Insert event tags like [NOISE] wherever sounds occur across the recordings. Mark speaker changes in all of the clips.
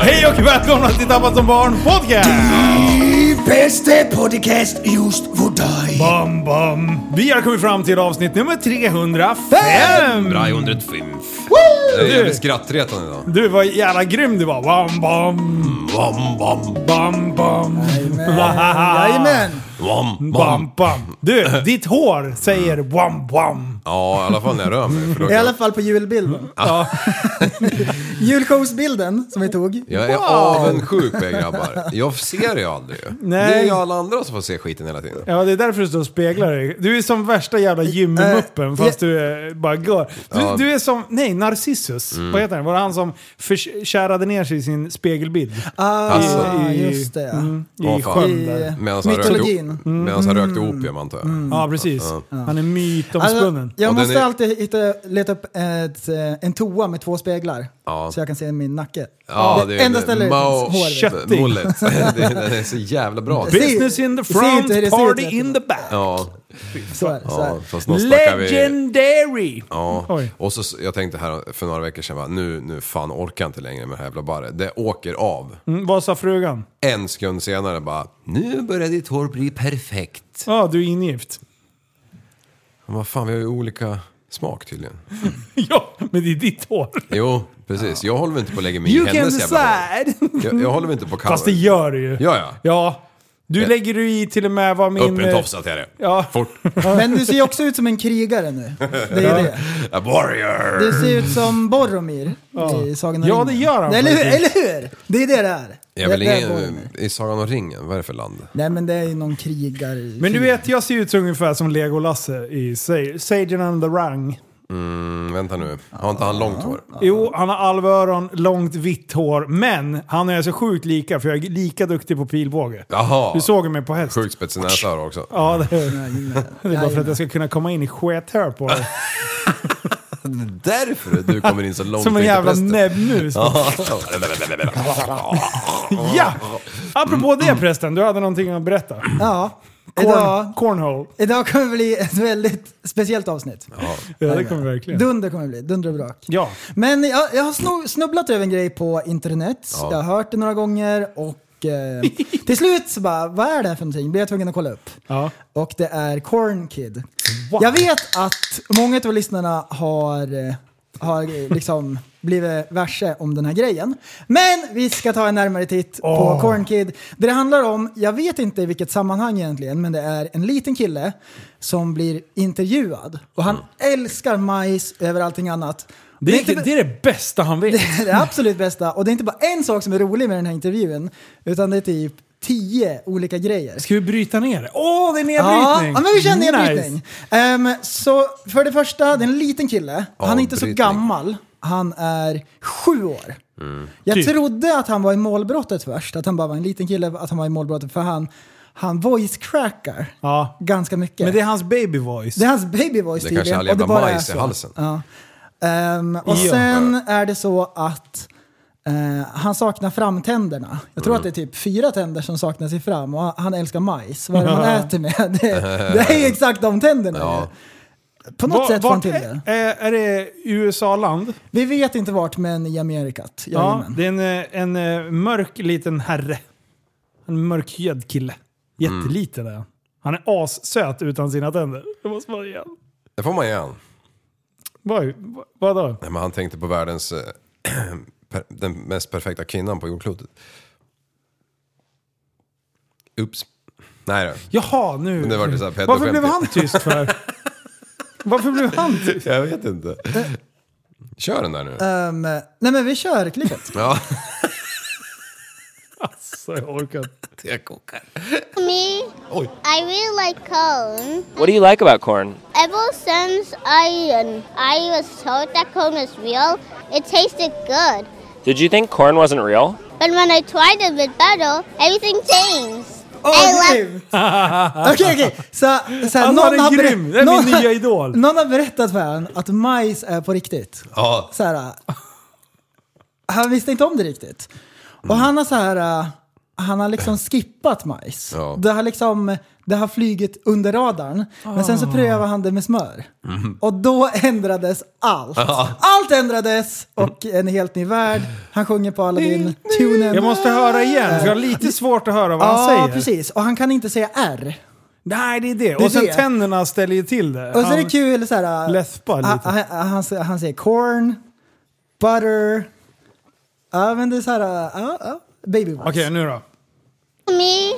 Speaker 1: Hej och välkomna till Tappat som barn podcast!
Speaker 2: Bästa podcast just för dig.
Speaker 1: Bam, bam. Vi har kommit fram till avsnitt nummer 305!
Speaker 3: 305. Jag är jävligt skrattretande idag.
Speaker 1: Du, vad jävla grym du var. Bam, bam.
Speaker 3: Wam, wam,
Speaker 1: Bam, bam.
Speaker 2: Jajamän.
Speaker 3: wam, wam.
Speaker 1: Bam, bam. Du, ditt hår säger wam, wam.
Speaker 3: Ja, i alla fall när jag rör mig. För då
Speaker 2: I
Speaker 3: kan-
Speaker 2: alla fall på julbilden. [LAUGHS] Julshowsbilden som vi tog.
Speaker 3: Jag är avundsjuk på er grabbar. Jag ser ju aldrig ju.
Speaker 1: Nej.
Speaker 3: Det är ju alla andra som får se skiten hela tiden.
Speaker 1: Ja, det är därför du står och speglar dig. Du är som värsta jävla gymmuppen fast du är, bara går. Du,
Speaker 3: Ja.
Speaker 1: du är som, nej, Narcissus. Vad heter han? Var det han som förkärade ner sig i sin spegelbild?
Speaker 2: Ah,
Speaker 3: Alltså.
Speaker 2: just det.
Speaker 1: Mm,
Speaker 3: Åh,
Speaker 1: I
Speaker 3: fan.
Speaker 1: sjön där.
Speaker 3: Medan han rökte,
Speaker 2: Mytologin. Mm.
Speaker 3: medan han rökte opium antar jag.
Speaker 1: Ja, precis. Han är
Speaker 2: Alltså,
Speaker 1: mytomspunnen.
Speaker 2: jag
Speaker 3: Och den
Speaker 2: måste
Speaker 3: är-
Speaker 2: alltid hitta, leta upp ett, eh, en toa med två speglar.
Speaker 3: Ja.
Speaker 2: Så jag kan se min nacke.
Speaker 3: Ja,
Speaker 2: det enda stället
Speaker 3: Mao
Speaker 2: hår.
Speaker 1: Köttig.
Speaker 3: Mullet. [LAUGHS] Det är- Den är så jävla bra.
Speaker 2: Ser-
Speaker 1: Business in the
Speaker 2: ser inte hur
Speaker 1: front,
Speaker 2: det ser ut
Speaker 1: party
Speaker 2: vet
Speaker 1: in
Speaker 2: du.
Speaker 1: the back.
Speaker 3: Ja,
Speaker 2: Så är det. Så är
Speaker 3: ja,
Speaker 2: det.
Speaker 3: fast nu snackar vi...
Speaker 1: Legendary!
Speaker 3: Ja.
Speaker 1: Oj.
Speaker 3: Och så, jag tänkte här för några veckor sedan, bara, nu, nu fan orkar jag inte längre med det här jävla barret. Det åker av.
Speaker 1: Mm, vad sa frugan?
Speaker 3: En sekund senare bara, nu börjar ditt hår bli perfekt.
Speaker 1: Ja, du är ingift. [LAUGHS]
Speaker 3: Men Vad fan, vi har ju olika smak tydligen.
Speaker 1: ja, men det är ditt hår.
Speaker 3: Jo, precis. Jag håller väl inte på att lägga mig i
Speaker 1: You can
Speaker 3: hennes jävla hår.
Speaker 1: decide!
Speaker 3: jag, jag håller väl inte på att
Speaker 1: Fast det
Speaker 3: cover.
Speaker 1: gör du ju.
Speaker 3: Ja, ja.
Speaker 1: Ja. Du
Speaker 3: Eh.
Speaker 1: lägger ju i till och med vad min...
Speaker 3: Upp med en
Speaker 1: eh,
Speaker 3: tofs att jag är det.
Speaker 1: Ja.
Speaker 3: Fort.
Speaker 2: Men du ser ju också ut som en krigare nu. Det är det.
Speaker 3: A warrior!
Speaker 2: Du ser ut som Boromir i Sagan om
Speaker 1: Ja,
Speaker 2: ringen.
Speaker 1: det gör han
Speaker 2: Eller hur?
Speaker 1: faktiskt.
Speaker 2: Eller hur? Det är det det är.
Speaker 3: Jag vill
Speaker 2: det, det är Boromir.
Speaker 3: ingen, I Sagan om ringen, vad är det för land?
Speaker 2: Nej men det är ju någon krigare.
Speaker 1: Men du vet, jag ser ut ungefär som Lego-Lasse i Sa- Sagen and the Rang.
Speaker 3: Mm, vänta nu, har inte han långt hår?
Speaker 1: Jo, han har alvöron, långt vitt hår, men han är så sjukt lika för jag är lika duktig på pilbåge.
Speaker 3: Jaha!
Speaker 1: Du såg ju mig på häst.
Speaker 3: Sjukt spetsig näsa har du också.
Speaker 1: Ja,
Speaker 2: [LAUGHS]
Speaker 1: det är, det är bara för att
Speaker 2: Jajamän.
Speaker 1: jag ska kunna komma in i skethör på dig.
Speaker 3: Därför du kommer in så långt
Speaker 1: Som en
Speaker 3: in till
Speaker 1: jävla
Speaker 3: prästen. [LAUGHS]
Speaker 1: näbbmus. Ja! Apropå det prästen, du hade någonting att berätta.
Speaker 2: Ja,
Speaker 1: Corn,
Speaker 2: idag,
Speaker 1: cornhole.
Speaker 2: idag kommer det bli ett väldigt speciellt avsnitt.
Speaker 1: Ja, det kommer verkligen.
Speaker 2: Dunder kommer det bli, dunder och brak.
Speaker 1: Ja.
Speaker 2: Men jag, jag har snu- snubblat över en grej på internet.
Speaker 3: Ja.
Speaker 2: Jag har hört det några gånger och
Speaker 1: [LAUGHS]
Speaker 2: eh, till slut så bara, vad är det här för någonting? Blir jag tvungen att kolla upp.
Speaker 1: Ja.
Speaker 2: Och det är Corn Kid.
Speaker 1: Wow.
Speaker 2: Jag vet att många av lyssnarna har, eh, har eh,
Speaker 1: [LAUGHS]
Speaker 2: liksom blivit värse om den här grejen. Men vi ska ta en närmare titt på Corn Kid. Det det handlar om, jag vet inte i vilket sammanhang egentligen, men det är en liten kille som blir intervjuad. Och han älskar majs över allting annat.
Speaker 1: Mm. Det,
Speaker 2: inte-
Speaker 1: är, det är det bästa han
Speaker 2: [LAUGHS]
Speaker 1: vet.
Speaker 2: det är det absolut bästa. Och det är inte bara en sak som är rolig med den här intervjun, utan det är typ tio olika grejer.
Speaker 1: Ska vi bryta ner det? Åh, det är
Speaker 2: Ja,
Speaker 1: nedbrytning!
Speaker 2: ja, men vi kör nedbrytning.
Speaker 1: Nice.
Speaker 2: Ehm, så för det första, det är en liten kille. han är inte så
Speaker 3: Avbrytning.
Speaker 2: gammal. Han är sju år. Jag
Speaker 1: Typ.
Speaker 3: Mm.
Speaker 2: trodde att han var i målbrottet först, att han bara var en liten kille, att han var i målbrottet för han han voice-crackar
Speaker 1: Ja.
Speaker 2: ganska mycket.
Speaker 1: Men det är hans baby voice.
Speaker 2: Det är hans baby voice
Speaker 3: Det kanske är all jävla majs i halsen.
Speaker 2: Ehm, och
Speaker 1: Ja.
Speaker 2: sen är det så att eh, han saknar framtänderna. Jag
Speaker 1: Mm.
Speaker 2: tror att det är typ fyra tänder som saknas i fram och han älskar majs. Vad
Speaker 1: [LAUGHS]
Speaker 2: är det man äter med? [LAUGHS] Det, det är exakt de tänderna.
Speaker 3: Ja.
Speaker 2: På något
Speaker 1: Va-
Speaker 2: sätt får han
Speaker 1: vart
Speaker 2: till
Speaker 1: är,
Speaker 2: det.
Speaker 1: eh, är, är det USA-land?
Speaker 2: Vi vet inte vart, men i Amerikat.
Speaker 1: Ja,
Speaker 2: Ja,
Speaker 1: det är en, eh, en eh, mörk liten herre. En mörkhyad kille.
Speaker 2: Mm.
Speaker 1: Jätteliten är han. Han är assöt utan sina tänder. Det måste vara igen.
Speaker 3: Det får man igen.
Speaker 1: Vad, vadå?
Speaker 3: Nej, men han tänkte på världens... eh, [CLEARS THROAT] per- Den mest perfekta kvinnan på jordklotet. Ups. Nej då.
Speaker 1: Jaha, nu...
Speaker 3: Det var det så här
Speaker 1: Varför blev han
Speaker 3: pedoskämt.
Speaker 1: tyst
Speaker 2: [LAUGHS]
Speaker 1: för? Varför blev han tyst?
Speaker 3: Jag vet inte. Kör den där nu.
Speaker 1: Eh.
Speaker 2: Ehm, nej men vi
Speaker 3: [LAUGHS]
Speaker 2: kör klippet.
Speaker 3: Ja.
Speaker 1: Alltså, jag orkar inte.
Speaker 4: Me,
Speaker 3: Oj.
Speaker 4: I really like cone.
Speaker 5: What do you like about corn?
Speaker 4: Ever since I um, I was told that cone was real, it tasted good.
Speaker 5: Did you think corn wasn't real?
Speaker 4: But when I tried it with butter, everything changed.
Speaker 2: Åh,
Speaker 4: I love
Speaker 2: grymt!
Speaker 1: [LAUGHS]
Speaker 2: Okej, okej. Så, så här,
Speaker 1: Alltså, han
Speaker 2: någon,
Speaker 1: är
Speaker 2: har berä-
Speaker 1: grym! Det är min
Speaker 2: någon,
Speaker 1: nya idol.
Speaker 2: [LAUGHS] någon har berättat för honom att majs är på riktigt.
Speaker 3: ja.
Speaker 2: så här, äh, han visste inte om det riktigt.
Speaker 1: Mm.
Speaker 2: Och han har så här, äh, han har liksom skippat majs.
Speaker 3: Ja.
Speaker 2: Det har liksom, det har flugit under radarn. Men sen så
Speaker 1: Ah.
Speaker 2: prövade han det med smör.
Speaker 1: Mm.
Speaker 2: Och då ändrades allt. Allt ändrades och en helt ny värld. Han sjunger på Aladdin, tunen.
Speaker 1: Jag måste höra igen, för jag har lite svårt att höra vad han
Speaker 2: Ja,
Speaker 1: säger.
Speaker 2: precis. Och han kan inte säga R.
Speaker 1: Nej, det är det.
Speaker 2: är
Speaker 1: och sen
Speaker 2: det.
Speaker 1: tänderna ställer ju till det.
Speaker 2: Och så är det
Speaker 1: Han-
Speaker 2: kul så här... äh,
Speaker 1: Läspar lite.
Speaker 2: Han, han, han, säger- han säger corn, butter. Ja, men det är så här... äh, Ja, ja, baby voice.
Speaker 1: Okej, nu då.
Speaker 4: me.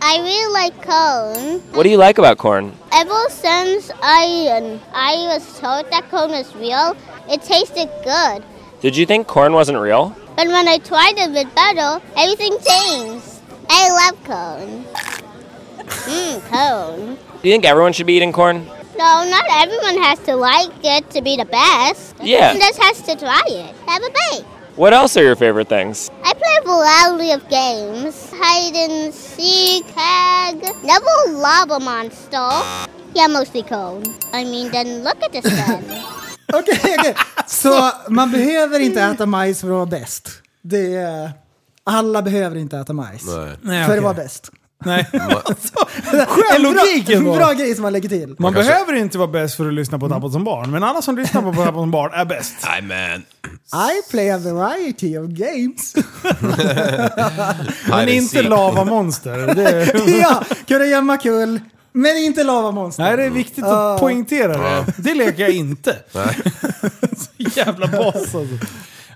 Speaker 4: I really like cone.
Speaker 5: What do you like about corn?
Speaker 4: Ever since I um, I was told that cone was real, it tasted good.
Speaker 5: Did you think corn wasn't real?
Speaker 4: But when I tried it with butter, everything changed. I love cone. Mmm, cone.
Speaker 5: Do you think everyone should be eating corn?
Speaker 4: No, not everyone has to like it to be the best.
Speaker 5: Yeah.
Speaker 4: Everyone just has to try it. Have a bite.
Speaker 5: What else are your favorite things?
Speaker 4: I play a variety of games. Hide and seek, tag, double lava monster. Yeah, mostly cone. I mean, then look at this
Speaker 5: [LAUGHS]
Speaker 4: then.
Speaker 2: Okej, okej. Så man behöver inte äta majs för att vara bäst. Det är, alla behöver inte äta majs
Speaker 3: Nej.
Speaker 1: Nej,
Speaker 2: för
Speaker 1: okej.
Speaker 2: att vara
Speaker 1: [LAUGHS]
Speaker 2: bäst.
Speaker 1: Nej.
Speaker 2: En bra-
Speaker 1: logiken då?
Speaker 2: En bra grej som man lägger till.
Speaker 1: Man
Speaker 3: kanske-
Speaker 1: behöver inte vara bäst för att lyssna på Tappat som barn, men alla som lyssnar på Tappat som barn är [LAUGHS] bäst.
Speaker 3: [LAUGHS] Nej men.
Speaker 2: I play a variety of games. [LAUGHS]
Speaker 1: Men inte lavamonster. Det [LAUGHS] är...
Speaker 2: ja, kunna gömma kull, men inte lavamonster.
Speaker 1: Nej, det är viktigt att
Speaker 2: Ah.
Speaker 1: poängtera det. Det leker jag inte. Så [LAUGHS] jävla bas alltså.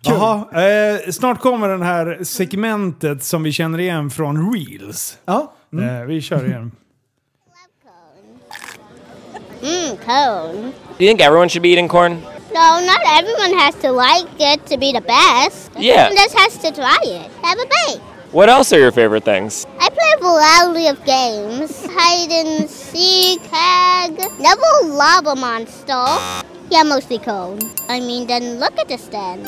Speaker 1: Jaha, eh, snart kommer den här segmentet som vi känner igen från Reels.
Speaker 2: Ja.
Speaker 1: Eh, vi kör igen.
Speaker 4: Mmm, cone.
Speaker 5: Do you think everyone should be eating corn?
Speaker 4: No, not everyone has to like it to be the best.
Speaker 5: Yeah.
Speaker 4: Everyone just has to try it. Have a bite.
Speaker 5: What else are your favorite things?
Speaker 4: I play a variety of games. Hide and seek, tag, double lava monster. Yeah, mostly cone. I mean, then look at this then.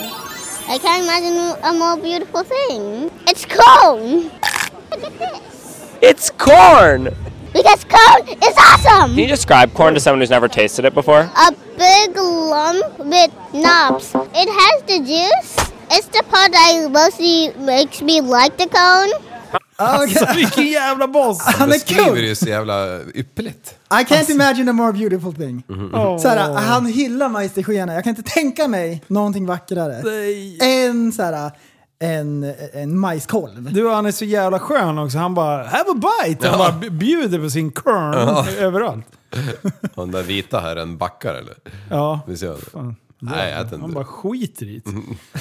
Speaker 4: I can't imagine a more beautiful thing. It's cone! Look at this.
Speaker 5: It's corn!
Speaker 4: Because cone is awesome!
Speaker 5: Can you describe corn to someone who's never tasted it before?
Speaker 4: A big lump with knobs. It has the juice. It's the part that mostly makes me like the cone.
Speaker 1: Alltså [LAUGHS] vilken jävla [LAUGHS] boss!
Speaker 2: Han är
Speaker 3: Beskriver
Speaker 2: kul!
Speaker 3: det så jävla ypperligt.
Speaker 2: I can't imagine a more beautiful thing. Så här, han hyllar majs till skyarna. Jag kan inte tänka mig någonting vackrare än så här, en, en majskolv.
Speaker 1: Du, han är så jävla skön också. Han bara “Have a bite”. Han bara bjuder på sin kern överallt.
Speaker 3: Och den där vita här en backar eller?
Speaker 1: Ja.
Speaker 3: Vi ser. Nej, jag äter
Speaker 1: Han
Speaker 3: inte.
Speaker 1: bara skiter i det.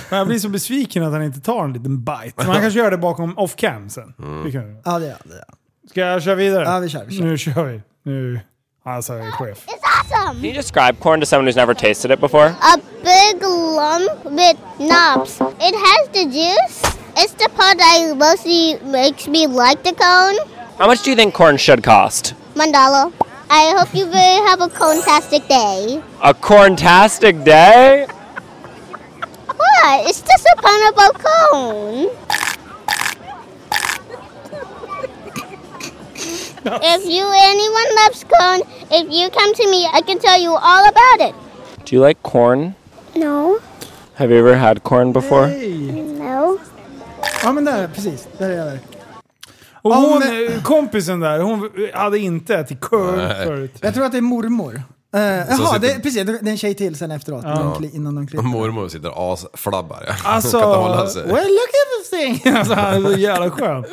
Speaker 1: Men jag blir så besviken att han inte tar en liten bite. Men han kanske gör det bakom off-cam sen. Det kan jag göra.
Speaker 2: Ja, det är det. är.
Speaker 1: Ska jag köra vidare?
Speaker 2: Ja, vi kör, vi kör.
Speaker 1: Nu kör vi. Nu. Alltså, jag är chef.
Speaker 4: It's awesome!
Speaker 5: Can you describe corn to someone who's never tasted it before?
Speaker 4: a big lump with knobs. It has the juice. It's the part that mostly makes me like the cone.
Speaker 5: How much do you think corn should cost?
Speaker 4: Mandala. I hope you very have a cone-tastic day.
Speaker 5: A corntastic day?
Speaker 4: What? It's just a pun about cone. If you anyone loves corn, if you come to me, I can tell you all about it.
Speaker 5: Do you like corn?
Speaker 4: No,
Speaker 5: Have you ever had corn before?
Speaker 4: no.
Speaker 2: Ja men där, precis. Där är jag där.
Speaker 1: Och
Speaker 2: Om-
Speaker 1: hon, eh, kompisen där, hon hade inte ätit curd
Speaker 3: Nej.
Speaker 1: förut.
Speaker 2: Jag tror att det är mormor. Eh, jaha,
Speaker 3: sitter-
Speaker 2: det, precis. Det är en tjej till sen efteråt. när de kli- Innan de klipper.
Speaker 3: Mormor sitter och asflabbar. Ja. [LAUGHS]
Speaker 1: Alltså,
Speaker 3: Hon kan inte hålla sig.
Speaker 2: Well look at this thing!
Speaker 1: Alltså, han är så jävla skön.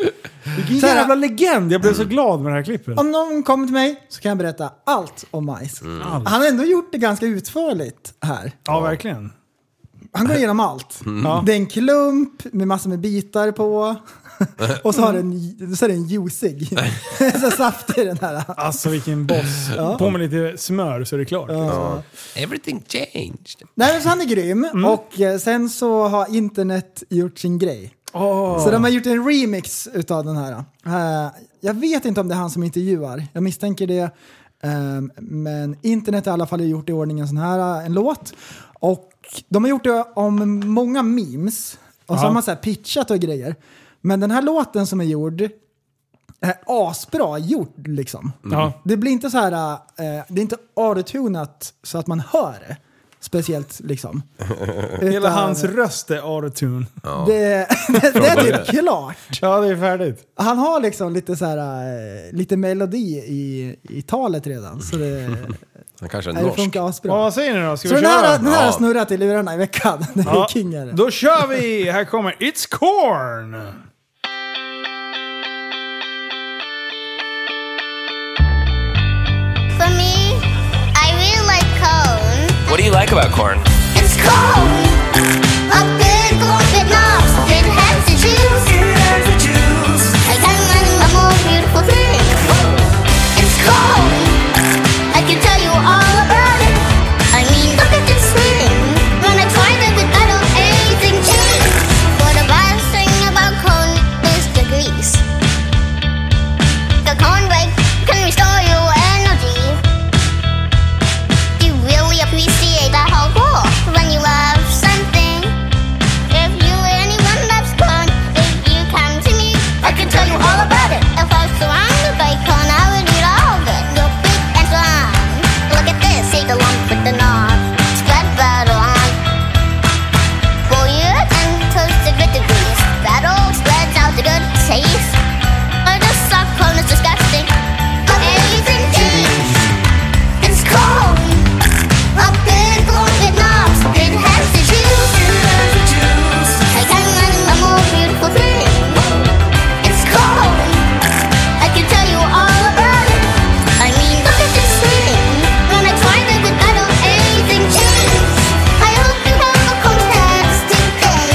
Speaker 1: Vilken
Speaker 2: [LAUGHS] Så här-
Speaker 1: jävla legend. Jag blev så glad med det här klippet.
Speaker 2: Om någon kommer till mig så kan jag berätta allt om majs.
Speaker 3: Mm.
Speaker 2: Han har ändå gjort det ganska utförligt här.
Speaker 1: Ja, verkligen.
Speaker 2: Han går igenom allt.
Speaker 1: Ja.
Speaker 2: Det är en klump med massor med bitar på. Och så, har den, så är den juicig. så saft i den här.
Speaker 1: Alltså vilken boss. På med lite smör så är det klart.
Speaker 3: Ja. Everything changed.
Speaker 2: Nej, men så han är grym. Och eh, sen så har internet gjort sin grej.
Speaker 1: Åh.
Speaker 2: Så de har gjort en remix utav den här. Eh, jag vet inte om det är han som intervjuar. Jag misstänker det. Ehm, men internet har i alla fall gjort i ordning en sån här eh, en låt. Och de har gjort det om många memes. Och så
Speaker 1: Ja.
Speaker 2: har man så här pitchat och grejer. Men den här låten som är gjord är asbra gjord liksom.
Speaker 1: Mm. Ja.
Speaker 2: Det blir inte så här, eh, det är inte autotunat så att man hör det. Speciellt liksom.
Speaker 1: Hela
Speaker 2: Utan
Speaker 1: hans röst är autotune.
Speaker 2: Det, [LAUGHS] det, det är typ klart.
Speaker 1: Ja, det är färdigt.
Speaker 2: Han har liksom lite så här, eh, lite melodi i, i talet
Speaker 3: [LAUGHS]
Speaker 2: redan. Så det,
Speaker 3: Han kanske är
Speaker 2: nej, det
Speaker 3: norsk.
Speaker 2: funkar asbra.
Speaker 1: Ja, vad säger ni då? Ska
Speaker 2: så
Speaker 1: vi
Speaker 2: den här,
Speaker 1: köra?
Speaker 2: den här har
Speaker 3: Ja.
Speaker 2: snurrat i lurarna i veckan. [LAUGHS] Det är
Speaker 1: Ja,
Speaker 2: king är det.
Speaker 1: Då kör vi! Här kommer It's Corn!
Speaker 4: For me, I really like cone.
Speaker 5: What do you like about corn?
Speaker 4: It's cone. A big open nose. It has the juice. It has the juice. I can learn a more beautiful thing. It's cone. I can tell you all about it. I mean, look at this thing. When I tried it with that old anything changed. But the best thing about cone is the grease. The cornbread can restore your energy. You really appreciate that whole goal when you love something. If you anyone loves corn, if you come to me, I can tell you all about it. If I was surrounded by corn, I would eat all of it. You're big and strong. Look at this, eat the lump with the knob. Spread butter on. Boil it and toast it with the grease. That all spreads out the good taste. I just suck corn is disgusting. Amazing taste. It's cold. A big open arms. It has the juice. I can learn a more beautiful thing. It's cold. I can tell you all about it. I mean, look at this thing. When I tried it with that old anything changed. I hope you have a fantastic day.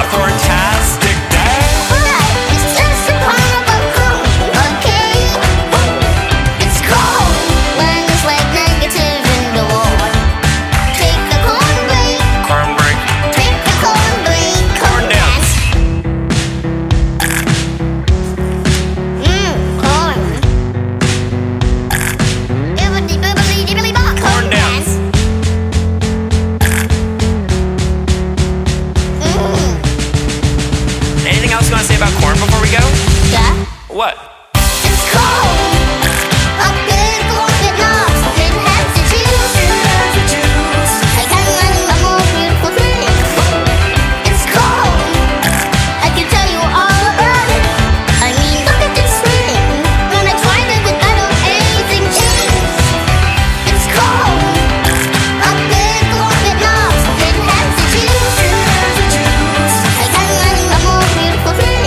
Speaker 5: A corntastic day?
Speaker 4: But it's just a part of home, okay? It's cold. Lungs like negative in the war. Take a corn break.
Speaker 5: Corn break.
Speaker 4: Take a corn break. Corn dance. Mmm, corn. Bibbidi bobbidi dibbidi bop. Corn dance. Mmm,
Speaker 5: Anything else you want to say about corn before we go?
Speaker 4: yeah.
Speaker 5: What?
Speaker 4: It's cold. A big golden arms. It has the juice. I can learn a more beautiful thing. It's cold. I can tell you all about it. I mean, look at this thing. When I tried it with that old anything changed. It's cold. A big golden arms. It has the juice. I can learn a more beautiful thing.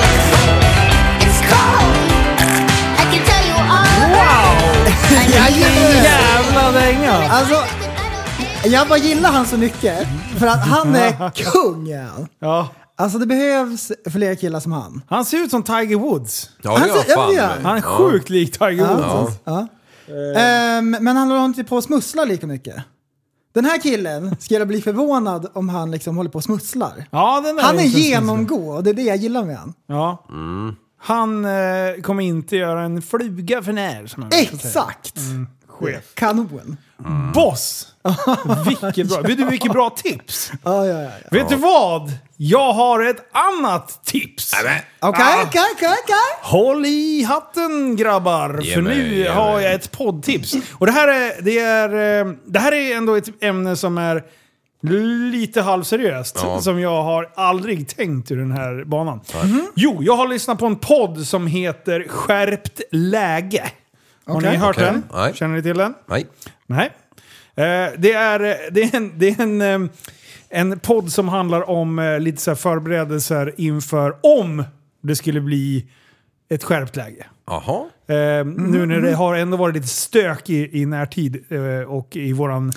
Speaker 4: It's cold. I can tell you all
Speaker 2: Jajamän.
Speaker 1: Jävla dänga!
Speaker 2: Alltså,
Speaker 4: about it.
Speaker 2: jag bara gillar han så mycket. För att han är kung är han.
Speaker 1: Ja.
Speaker 2: Alltså det behövs fler killar som han.
Speaker 1: Han ser ut som Tiger Woods.
Speaker 3: Ja, det
Speaker 2: Han
Speaker 3: gör
Speaker 2: ser-
Speaker 3: fan.
Speaker 2: ja,
Speaker 3: med.
Speaker 1: Han är
Speaker 3: Ja.
Speaker 1: sjukt lik Tiger Woods.
Speaker 2: Ja.
Speaker 1: Eh.
Speaker 2: Ehm, men han håller inte på att smussla lika mycket. Den här killen skulle jag bli förvånad om han liksom håller på och smusslar.
Speaker 1: Ja, den där
Speaker 2: Han är
Speaker 1: inte så snygg.
Speaker 2: genomgå och det är det jag gillar med han.
Speaker 1: Ja.
Speaker 3: Mm.
Speaker 1: Han eh, kommer inte göra en fluga för när. Som han brukar säga.
Speaker 2: Exakt!
Speaker 1: chef.
Speaker 2: Kanon.
Speaker 1: [LAUGHS] Boss! Vilket bra, vet du vilket bra tips?
Speaker 2: Ja, ja, ja.
Speaker 1: Vet du vad? Jag har ett annat tips!
Speaker 2: Okej, okej, okej, okej.
Speaker 1: Håll i hatten grabbar,
Speaker 3: Ge
Speaker 1: för
Speaker 3: mig,
Speaker 1: nu
Speaker 3: ge
Speaker 1: har
Speaker 3: mig.
Speaker 1: jag ett poddtips. Och det här, är, det, är, eh, det här är ändå ett ämne som är lite halvseriöst.
Speaker 3: Ja.
Speaker 1: Som jag har aldrig tänkt ur den här banan. Mhm. Jo, jag har lyssnat på en podd som heter Skärpt läge. Har
Speaker 2: Okej.
Speaker 1: ni hört
Speaker 3: Okej.
Speaker 1: den?
Speaker 3: Nej.
Speaker 1: Känner ni till den?
Speaker 3: Nej.
Speaker 1: Nej. Eh, Det är, det är, en, det är en, eh, en podd som handlar om eh, lite så här förberedelser inför om det skulle bli ett skärpt läge.
Speaker 3: [LAUGHS] Jaha.
Speaker 1: Eh, Nu när det har ändå varit lite stök i, i närtid eh, och i våran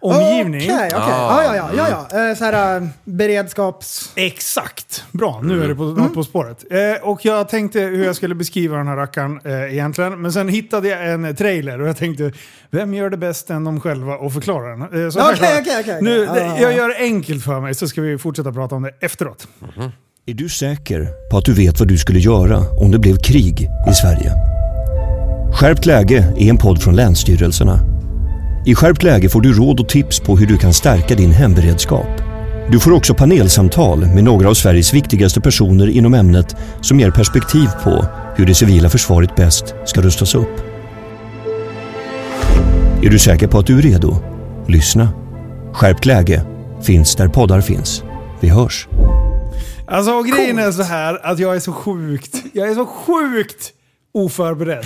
Speaker 1: omgivning.
Speaker 2: Okej, okej. Ja, ja, ja. ja, ja. Eh, Så här eh, beredskaps...
Speaker 1: Exakt! Bra, nu
Speaker 2: Mm.
Speaker 1: är det på, på spåret. Eh, och jag tänkte hur jag skulle beskriva den här rackaren eh, egentligen. Men sen hittade jag en trailer och jag tänkte, vem gör det bäst än de själva och förklara den? Eh, så här
Speaker 2: Okej,
Speaker 1: klarar jag.
Speaker 2: okej, okej, okej.
Speaker 1: Nu,
Speaker 2: Ja,
Speaker 1: det-
Speaker 2: ja, ja.
Speaker 1: Jag gör det enkelt för mig så ska vi fortsätta prata om det efteråt.
Speaker 6: Är du säker på att du vet vad du skulle göra om det blev krig i Sverige? Skärpt läge är en podd från Länsstyrelserna. I Skärpt läge får du råd och tips på hur du kan stärka din hemberedskap. Du får också panelsamtal med några av Sveriges viktigaste personer inom ämnet som ger perspektiv på hur det civila försvaret bäst ska rustas upp. Är du säker på att du är redo? Lyssna. Skärpt läge finns där poddar finns. Vi hörs.
Speaker 1: Alltså och grejen är så här att jag är så sjukt, jag är så sjukt oförberedd.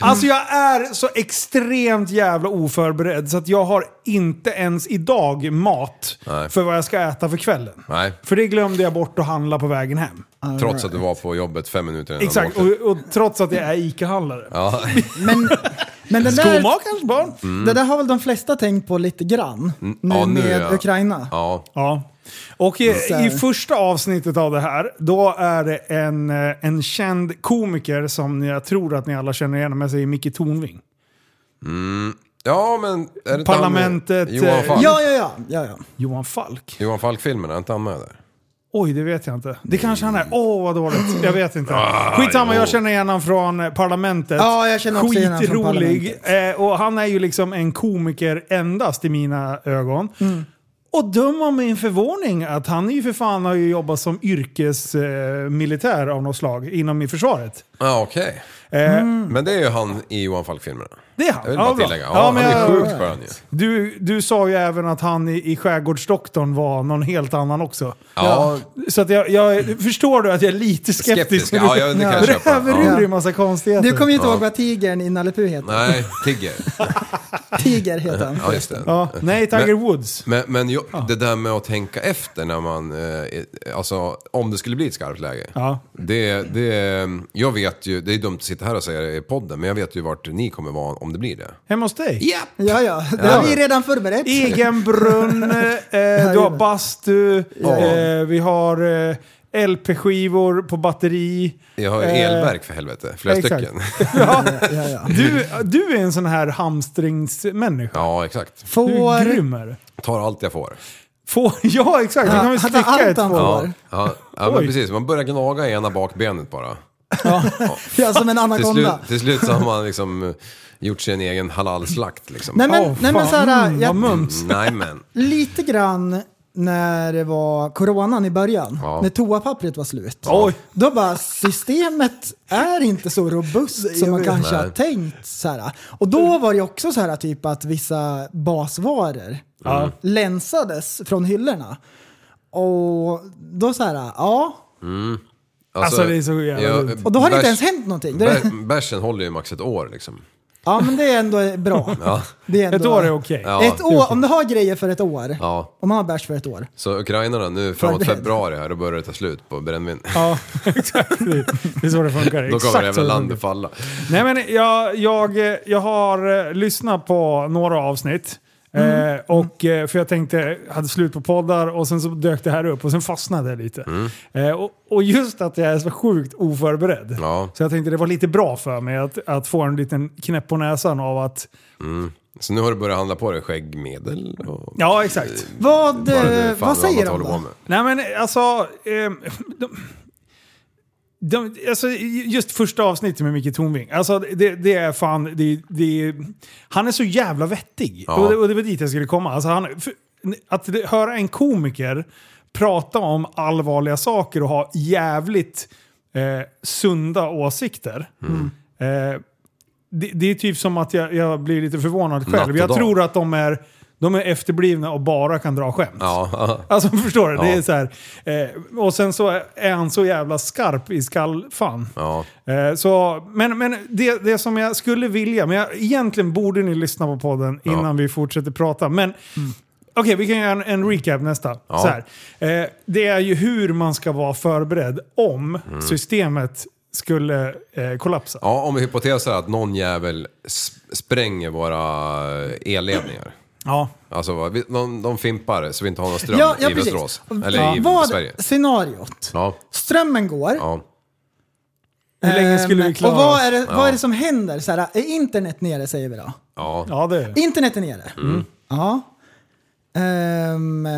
Speaker 1: Alltså jag är så extremt jävla oförberedd så att jag har inte ens idag mat
Speaker 3: Nej.
Speaker 1: för vad jag ska äta för kvällen.
Speaker 3: Nej.
Speaker 1: För det glömde jag bort att handla på vägen hem.
Speaker 3: Trots att du var på jobbet fem minuter innan
Speaker 1: Exakt,
Speaker 3: du
Speaker 1: och,
Speaker 3: åkte.
Speaker 1: och trots att jag är ICA-handlare. [LAUGHS]
Speaker 3: Ja.
Speaker 2: Men, men den där... Mm.
Speaker 1: Skomakarens barn!
Speaker 2: Det där har väl de flesta tänkt på lite grann. Nu
Speaker 3: ja, nu,
Speaker 2: med
Speaker 3: ja.
Speaker 2: Ukraina.
Speaker 3: ja.
Speaker 1: Ja. Och i,
Speaker 2: Så här.
Speaker 1: i första avsnittet av det här, då är det en, eh, en känd komiker som jag tror att ni alla känner igen, men säger Micke Tornving.
Speaker 3: ja, men... Är det inte
Speaker 1: Parlamentet,
Speaker 3: Han, med- Johan
Speaker 1: eh,
Speaker 3: Falk?
Speaker 2: Ja, ja, ja. ja, ja.
Speaker 1: Johan Falk?
Speaker 3: Johan Falk-filmen, är inte han med där?
Speaker 1: Oj, det vet jag inte. Det kanske han är. Åh, vad dåligt. Jag vet inte.
Speaker 3: Ah,
Speaker 1: Skitsamma, jag känner igen honom från eh, Parlamentet.
Speaker 2: Ja, jag känner också igen honom från
Speaker 1: Skitrolig. Eh, och han är ju liksom en komiker endast i mina ögon.
Speaker 2: Mm.
Speaker 1: Och döm om min förvåning att han är ju för fan har ju jobbat som yrkesmilitär eh, militär av något slag inom i försvaret.
Speaker 3: Ja, okej. Mm.
Speaker 1: Eh,
Speaker 3: Men det är ju han i Johan Falk-filmerna.
Speaker 1: Det är han.
Speaker 3: Jag vill
Speaker 1: Ja,
Speaker 3: bara
Speaker 1: bra.
Speaker 3: tillägga. Ja,
Speaker 1: Ja,
Speaker 3: han
Speaker 1: men
Speaker 3: är
Speaker 1: jag-
Speaker 3: sjukt skön ju.
Speaker 1: Du, du sa ju även att han i, i Skärgårdsdoktorn var någon helt annan också.
Speaker 3: Ja.
Speaker 1: Så att jag, jag förstår du att jag är lite skeptisk.
Speaker 3: Skeptisk. Ja, jag- det kan
Speaker 1: [LAUGHS]
Speaker 3: jag köpa.
Speaker 1: Räver ur
Speaker 3: Ja.
Speaker 1: dig en massa konstigheter.
Speaker 2: Du kommer ju inte ihåg vad tigern i Nalle Puh heter.
Speaker 3: Nej, Tigger.
Speaker 2: Tiger heter han.
Speaker 3: Ja, just det.
Speaker 1: ja. Nej, Tiger
Speaker 3: Men-
Speaker 1: Woods.
Speaker 3: Men, men ju- det där med att tänka efter när man, eh, alltså om det skulle bli ett skarpt läge.
Speaker 1: Ja.
Speaker 3: Det, det, jag vet ju, det är dumt att sitta här och säga det i podden, men jag vet ju vart ni kommer vara om det blir det.
Speaker 1: Hemma hos dig.
Speaker 2: Ja, ja. Det har vi redan förberett.
Speaker 1: Egen
Speaker 3: [LAUGHS]
Speaker 1: brunn, eh, du har bastu, eh, vi har eh, LP-skivor på batteri.
Speaker 3: Jag har ju
Speaker 1: Eh,
Speaker 3: elverk för helvete, flera
Speaker 1: exakt.
Speaker 3: stycken. [LAUGHS]
Speaker 1: Ja.
Speaker 2: Ja, ja.
Speaker 1: [LAUGHS] Du, du är en sån här hamstringsmänniska.
Speaker 3: Ja, exakt.
Speaker 1: Du är
Speaker 2: Får...
Speaker 1: grym är du.
Speaker 3: Tar allt jag får.
Speaker 1: Får, [LAUGHS] ja, exakt. Du
Speaker 2: Ja,
Speaker 1: kan väl
Speaker 2: han
Speaker 1: sticka
Speaker 2: tar allt
Speaker 1: ett
Speaker 2: han
Speaker 1: två.
Speaker 2: får.
Speaker 3: Ja, ja, ja men
Speaker 1: Oj.
Speaker 3: precis. Man börjar gnaga i ena bakbenet bara.
Speaker 2: Ja, som
Speaker 3: Till slut,
Speaker 2: en anakonda.
Speaker 3: till slut så har man liksom eh, gjort sin egen halalslakt liksom.
Speaker 2: Nej men,
Speaker 1: Åh,
Speaker 2: nej, men
Speaker 1: fan.
Speaker 2: så här,
Speaker 1: Mm,
Speaker 2: jag,
Speaker 1: vad mums.
Speaker 3: Nej men.
Speaker 2: lite grann när det var coronan i början,
Speaker 3: Ja.
Speaker 2: när toapappret var slut.
Speaker 3: Oj.
Speaker 2: Då bara, systemet är inte så robust som man kanske
Speaker 3: Nej.
Speaker 2: har tänkt. Så här. Och
Speaker 1: Mm.
Speaker 2: då var det också så här typ att vissa basvaror länsades från hyllorna. Och då så här, ja.
Speaker 1: Alltså, det är så jävla dumt.
Speaker 2: Och då har det
Speaker 3: bärs-
Speaker 2: inte ens hänt någonting. Det är,
Speaker 3: Bär, bärsen håller ju max ett år liksom.
Speaker 2: ja men det är
Speaker 3: [LAUGHS]
Speaker 2: ändå bra. Det är ändå,
Speaker 1: Ett år är okej.
Speaker 3: Ja.
Speaker 2: Ett år, om du har grejer för ett år,
Speaker 3: Ja.
Speaker 2: om man har bärs för ett år.
Speaker 3: Så ukrainarna nu framåt
Speaker 2: Förberedd.
Speaker 3: februari här, då börjar det ta slut på brännvin. [LAUGHS]
Speaker 1: Ja, [LAUGHS] exakt. Det är så det funkar.
Speaker 3: Då
Speaker 1: Exakt
Speaker 3: kommer det
Speaker 1: så
Speaker 3: jävla
Speaker 1: det funkar.
Speaker 3: landet falla.
Speaker 1: Nej, men jag, jag, eh, jag har eh, lyssnat på några avsnitt.
Speaker 3: Mm.
Speaker 1: Eh, och, eh, för jag tänkte, jag hade slut på poddar och sen så dök det här upp och sen fastnade jag lite.
Speaker 3: Mm.
Speaker 1: Eh, och, och just att jag är så sjukt oförberedd.
Speaker 3: Ja.
Speaker 1: Så jag tänkte det var lite bra för mig att, att få en liten knäpp på näsan av att...
Speaker 3: Så nu har du börjat handla på dig skäggmedel och...
Speaker 1: Ja, exakt.
Speaker 2: Vad,
Speaker 3: Vad
Speaker 2: eh,
Speaker 3: nu fan
Speaker 2: vad
Speaker 3: annat
Speaker 1: eh,
Speaker 2: säger de
Speaker 3: håller på
Speaker 2: då?
Speaker 3: med.
Speaker 1: Nej men alltså... ehm, de, alltså, De, alltså, just första avsnittet med Micke Tornving. Alltså, det, det är fan... Det, det, han är så jävla vettig.
Speaker 3: Ja.
Speaker 1: Och, det, och det var dit jag skulle komma. Alltså, han, för, att det, höra en komiker prata om allvarliga saker och ha jävligt eh, sunda åsikter.
Speaker 3: Mm.
Speaker 1: Eh, det, det är typ som att jag, jag blir lite förvånad
Speaker 3: Natt
Speaker 1: själv.
Speaker 3: och
Speaker 1: Jag
Speaker 3: dag.
Speaker 1: tror att de är, de är efterblivna och bara kan dra skämt.
Speaker 3: Ja. [LAUGHS]
Speaker 1: Alltså [LAUGHS] förstår du? Det
Speaker 3: Ja.
Speaker 1: är så här. Eh, och sen så är han så jävla skarp i skallfan.
Speaker 3: Ja.
Speaker 1: Eh, så, men men det, det som jag skulle vilja, men jag, egentligen borde ni lyssna på podden innan vi fortsätter prata. Men okej, vi kan göra en, en recap nästa.
Speaker 3: Ja.
Speaker 1: Så här. Eh, det är ju hur man ska vara förberedd om systemet skulle eh, kollapsa.
Speaker 3: ja, om vi hypoteser att någon jävel s- spränger våra elledningar.
Speaker 1: Ja.
Speaker 3: Alltså vad- vi- de, de fimpar så vi inte har någon ström
Speaker 2: Ja, ja
Speaker 3: i
Speaker 2: precis.
Speaker 3: Västerås. Eller i
Speaker 2: Vad
Speaker 3: Sverige.
Speaker 2: scenariot?
Speaker 3: Ja,
Speaker 2: Strömmen går.
Speaker 3: ja.
Speaker 1: Hur länge
Speaker 2: ehm,
Speaker 1: skulle vi klara
Speaker 2: Och vad är
Speaker 1: oss?
Speaker 2: det, vad är det som händer? Så här, är internet nere säger vi då?
Speaker 3: Ja, Mm.
Speaker 1: Ja, det är det.
Speaker 2: Internet är nere. Mm. Ja. Ehm,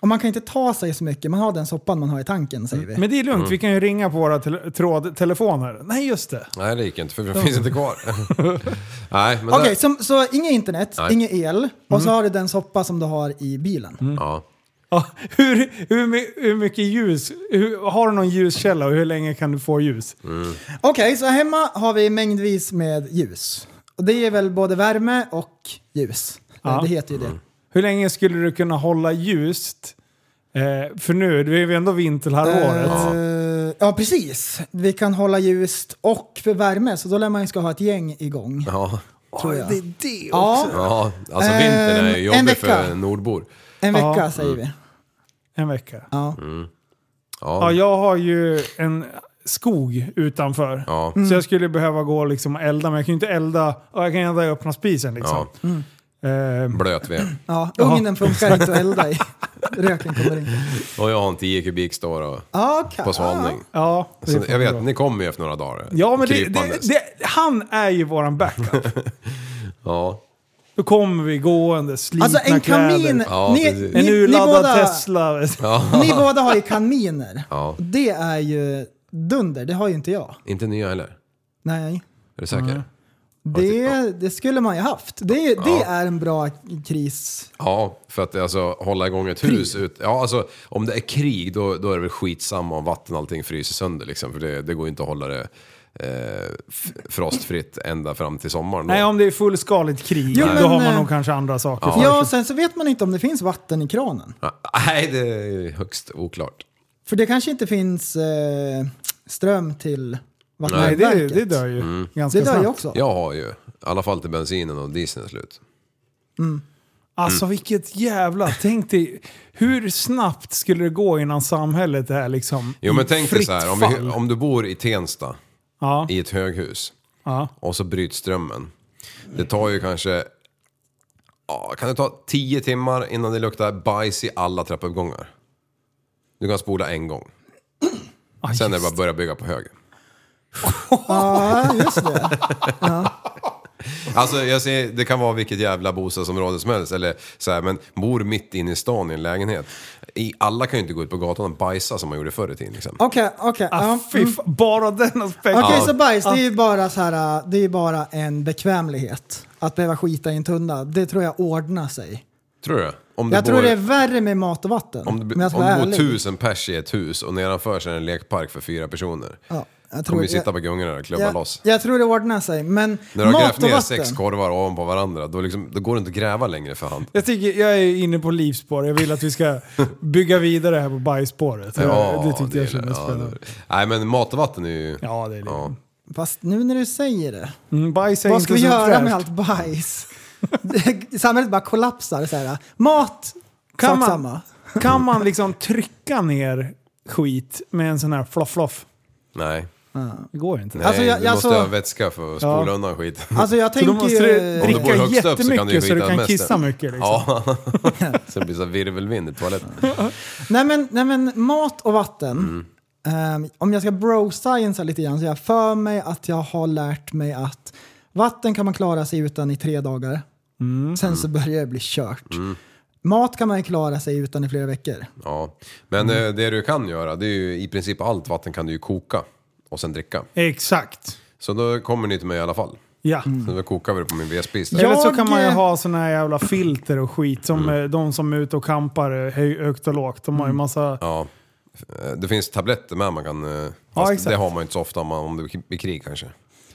Speaker 2: och man kan inte ta sig så mycket. Man har den soppan man har i tanken säger
Speaker 3: Mm.
Speaker 2: vi.
Speaker 1: Men det är lugnt, vi kan ju ringa på våra tele- trådtelefoner. Nej, just det.
Speaker 3: nej det gick inte för det finns inte
Speaker 2: [LAUGHS]
Speaker 3: kvar. nej, men
Speaker 2: Okej,
Speaker 3: där,
Speaker 2: så, så inget internet,
Speaker 3: Nej. Mm.
Speaker 2: inget el och så har du den soppa som du har i bilen.
Speaker 3: ja.
Speaker 1: Ja, hur, hur, my- hur mycket ljus? Hur, har du någon ljuskälla och hur länge kan du få ljus?
Speaker 2: Okej, så hemma har vi mängdvis med ljus. Och det är väl både värme och ljus.
Speaker 1: Ja.
Speaker 2: Det heter ju det.
Speaker 1: Hur länge skulle du kunna hålla ljust? Eh, för nu, det är ju ändå vinterhalvåret.
Speaker 2: Eh, ja, precis. Vi kan hålla ljust och för värme, så då lär man ju ska ha ett gäng igång.
Speaker 3: ja.
Speaker 2: Tror jag. Det är det också. Ja,
Speaker 3: Ja, alltså vintern är ju
Speaker 2: Ehm, en
Speaker 3: jobbig
Speaker 2: vecka.
Speaker 3: för nordbor.
Speaker 2: en vecka
Speaker 1: Ja.
Speaker 2: säger
Speaker 3: Mm.
Speaker 2: vi.
Speaker 1: En vecka.
Speaker 2: Ja.
Speaker 1: Ja,
Speaker 3: Ja,
Speaker 1: jag har ju en skog utanför.
Speaker 3: ja,
Speaker 1: Så
Speaker 2: Mm.
Speaker 1: jag skulle behöva gå liksom och elda, men jag kan ju inte elda. Och jag kan elda i öppna spisen liksom.
Speaker 3: ja.
Speaker 2: Mm. Ehm.
Speaker 1: Eh,
Speaker 3: Blöt ved.
Speaker 2: Ja, ugnen funkar inte att elda i.
Speaker 1: [LAUGHS]
Speaker 2: Röken kommer in.
Speaker 3: Och jag har en 10 kubik står och
Speaker 2: Ja, Okej.
Speaker 3: på svalning.
Speaker 1: ja, det
Speaker 2: Alltså,
Speaker 3: Så
Speaker 1: får
Speaker 3: jag
Speaker 1: bli
Speaker 3: vet,
Speaker 1: bra.
Speaker 3: ni kommer ju efter några dagar.
Speaker 1: Ja, men det,
Speaker 3: krypandes.
Speaker 1: det, det, han är ju våran backup.
Speaker 3: Ja,
Speaker 1: Då kommer vi gående, slitna
Speaker 2: Alltså en kamin...
Speaker 1: kläder.
Speaker 3: Ja,
Speaker 2: ni,
Speaker 3: precis.
Speaker 2: ni,
Speaker 1: En
Speaker 2: ni,
Speaker 1: urladdad
Speaker 2: båda,
Speaker 1: Tesla.
Speaker 2: ni båda har
Speaker 1: [LAUGHS]
Speaker 2: ju kaminer.
Speaker 3: Ja.
Speaker 2: Det är ju dunder, det har ju inte jag.
Speaker 3: inte nya heller.
Speaker 2: Nej.
Speaker 3: Är du säker?
Speaker 1: typ,
Speaker 2: Det, det skulle man ju haft. Det, det är en bra kris.
Speaker 3: Ja, för att alltså, hålla igång ett hus. Ut, ja, alltså, om det är krig då, då är det väl skitsamma om vatten och allting fryser sönder. Liksom, för det, det går ju inte att hålla det eh, f- frostfritt ända fram till sommaren. då.
Speaker 1: Nej, om det är fullskaligt krig,
Speaker 2: Jo,
Speaker 1: då
Speaker 2: men,
Speaker 1: har man
Speaker 2: eh,
Speaker 1: nog kanske andra saker för
Speaker 2: Ja,
Speaker 1: sig.
Speaker 2: och sen så vet man inte om det finns vatten i kranen.
Speaker 3: Nej, det är högst oklart.
Speaker 2: För det kanske inte finns eh, ström till
Speaker 1: Nej, det,
Speaker 2: vattenverket.
Speaker 1: det dör ju ganska
Speaker 2: Mm. Det dör
Speaker 1: snabbt.
Speaker 2: ju också.
Speaker 3: Jag har ju, i alla fall till bensinen och dieseln är slut.
Speaker 1: Alltså
Speaker 3: Mm.
Speaker 1: vilket jävla... Tänk dig, hur snabbt skulle det gå innan samhället är liksom
Speaker 3: Jo men
Speaker 1: i
Speaker 3: tänk dig
Speaker 1: fritt
Speaker 3: så här, om,
Speaker 1: fall?
Speaker 3: vi, om du bor i Tensta
Speaker 1: ja,
Speaker 3: i ett höghus
Speaker 1: ja.
Speaker 3: och så bryts strömmen. Det tar ju kanske, ja, kan det ta 10 timmar innan det luktar bajs i alla trappuppgångar? Du kan spola en gång.
Speaker 1: [CLEARS THROAT] Ah,
Speaker 3: Sen är det
Speaker 1: just.
Speaker 3: bara att börja bygga på höger.
Speaker 2: Ja, just det.
Speaker 3: Alltså jag säger, det kan vara vilket jävla bostadsområde som helst. Eller så här, men bor mitt inne i stan i en lägenhet. I, alla kan ju inte gå ut på gatan och bajsa som man gjorde förr i tiden. Liksom.
Speaker 2: Okej, okej. ja,
Speaker 1: Ah,
Speaker 2: mm.
Speaker 1: fy fan, Ah. bara den aspekten.
Speaker 2: Okej, så bajs, det är ju bara så här, äh, det är ju bara en bekvämlighet. Att behöva skita i en tunna, det tror jag ordnar sig.
Speaker 3: Tror du? Om du
Speaker 2: Jag
Speaker 3: bor,
Speaker 2: tror det är värre med mat och vatten.
Speaker 3: Om det,
Speaker 2: men jag
Speaker 3: om
Speaker 2: ska vara
Speaker 3: det bor
Speaker 2: ärlig.
Speaker 3: tusen pers i ett hus och nedanför sig är en lekpark för fyra personer.
Speaker 2: Ja, jag
Speaker 3: De
Speaker 2: tror
Speaker 3: vill
Speaker 2: jag-
Speaker 3: sitta på gungorna och klubba
Speaker 2: jag,
Speaker 3: loss.
Speaker 2: jag tror det ordnar sig, men
Speaker 3: När du har
Speaker 2: mat
Speaker 3: grävt
Speaker 2: och
Speaker 3: ner
Speaker 2: vatten.
Speaker 3: sex korvar ovanpå varandra, då, liksom, då går det inte att gräva längre för hand.
Speaker 1: Jag, tycker, jag är inne på livspår. Jag vill att vi
Speaker 3: [LAUGHS]
Speaker 1: ska bygga vidare här på bajsspåret. Ja, det tyckte jag
Speaker 3: gillar-
Speaker 1: kändes
Speaker 3: ja,
Speaker 1: spännande.
Speaker 3: det- Nej men mat och vatten är ju...
Speaker 1: Ja, det är det.
Speaker 3: Ja.
Speaker 2: Fast nu när du säger det.
Speaker 1: Mm, bajs är
Speaker 2: Vad
Speaker 1: inte
Speaker 2: ska vi
Speaker 1: så
Speaker 2: göra
Speaker 1: fräscht.
Speaker 2: med allt bajs? Det- Samhället bara kollapsar. Så här. Mat,
Speaker 1: Kan
Speaker 2: kan
Speaker 1: man-
Speaker 2: samma.
Speaker 1: [LAUGHS] Kan man liksom trycka ner skit med en sån här fluff-fluff?
Speaker 3: Nej.
Speaker 1: Det går inte.
Speaker 3: Nej,
Speaker 2: Alltså, jag-
Speaker 3: du måste
Speaker 2: alltså-
Speaker 3: ha vätska för att spola
Speaker 1: Ja.
Speaker 3: undan
Speaker 2: [LAUGHS]
Speaker 3: skiten.
Speaker 2: Alltså jag
Speaker 1: Så då
Speaker 2: tänker
Speaker 1: måste
Speaker 2: ju...
Speaker 1: du
Speaker 2: [LAUGHS]
Speaker 3: Om du bor
Speaker 1: dricka
Speaker 3: högst upp så kan du ju
Speaker 1: jättemycket så du
Speaker 3: skita
Speaker 1: kan
Speaker 3: mest.
Speaker 1: kissa mycket. Liksom.
Speaker 3: Ja. så det blir så här virvelvind i toaletten.
Speaker 2: Nej men, nej men mat och vatten. Ehm, om jag ska bro-sciencea lite grann så jag för mig att jag har lärt mig att vatten kan man klara sig utan i tre dagar. Sen så börjar det bli kört. Mat kan man ju klara sig utan i flera veckor. Mm.
Speaker 3: Ja. Men eh, det du kan göra, det är ju i princip allt vatten kan du ju koka. och sen dricka.
Speaker 1: Exakt.
Speaker 3: Så då kommer ni till mig i alla fall.
Speaker 1: Ja.
Speaker 3: Så då kokar vi det på min vedspis. där.
Speaker 1: Eller så
Speaker 2: Jag,
Speaker 1: kan man ju
Speaker 2: eh, Mm.
Speaker 1: ha såna här jävla filter och skit som eh, de som är ute och kampar eh, höj- högt och lågt. De har ju massa...
Speaker 3: Ja. Eh, Det finns tabletter med man kan... eh,
Speaker 1: Ja,
Speaker 3: Fast
Speaker 1: exakt.
Speaker 3: det har man ju inte så ofta om, man, om det blir krig kanske.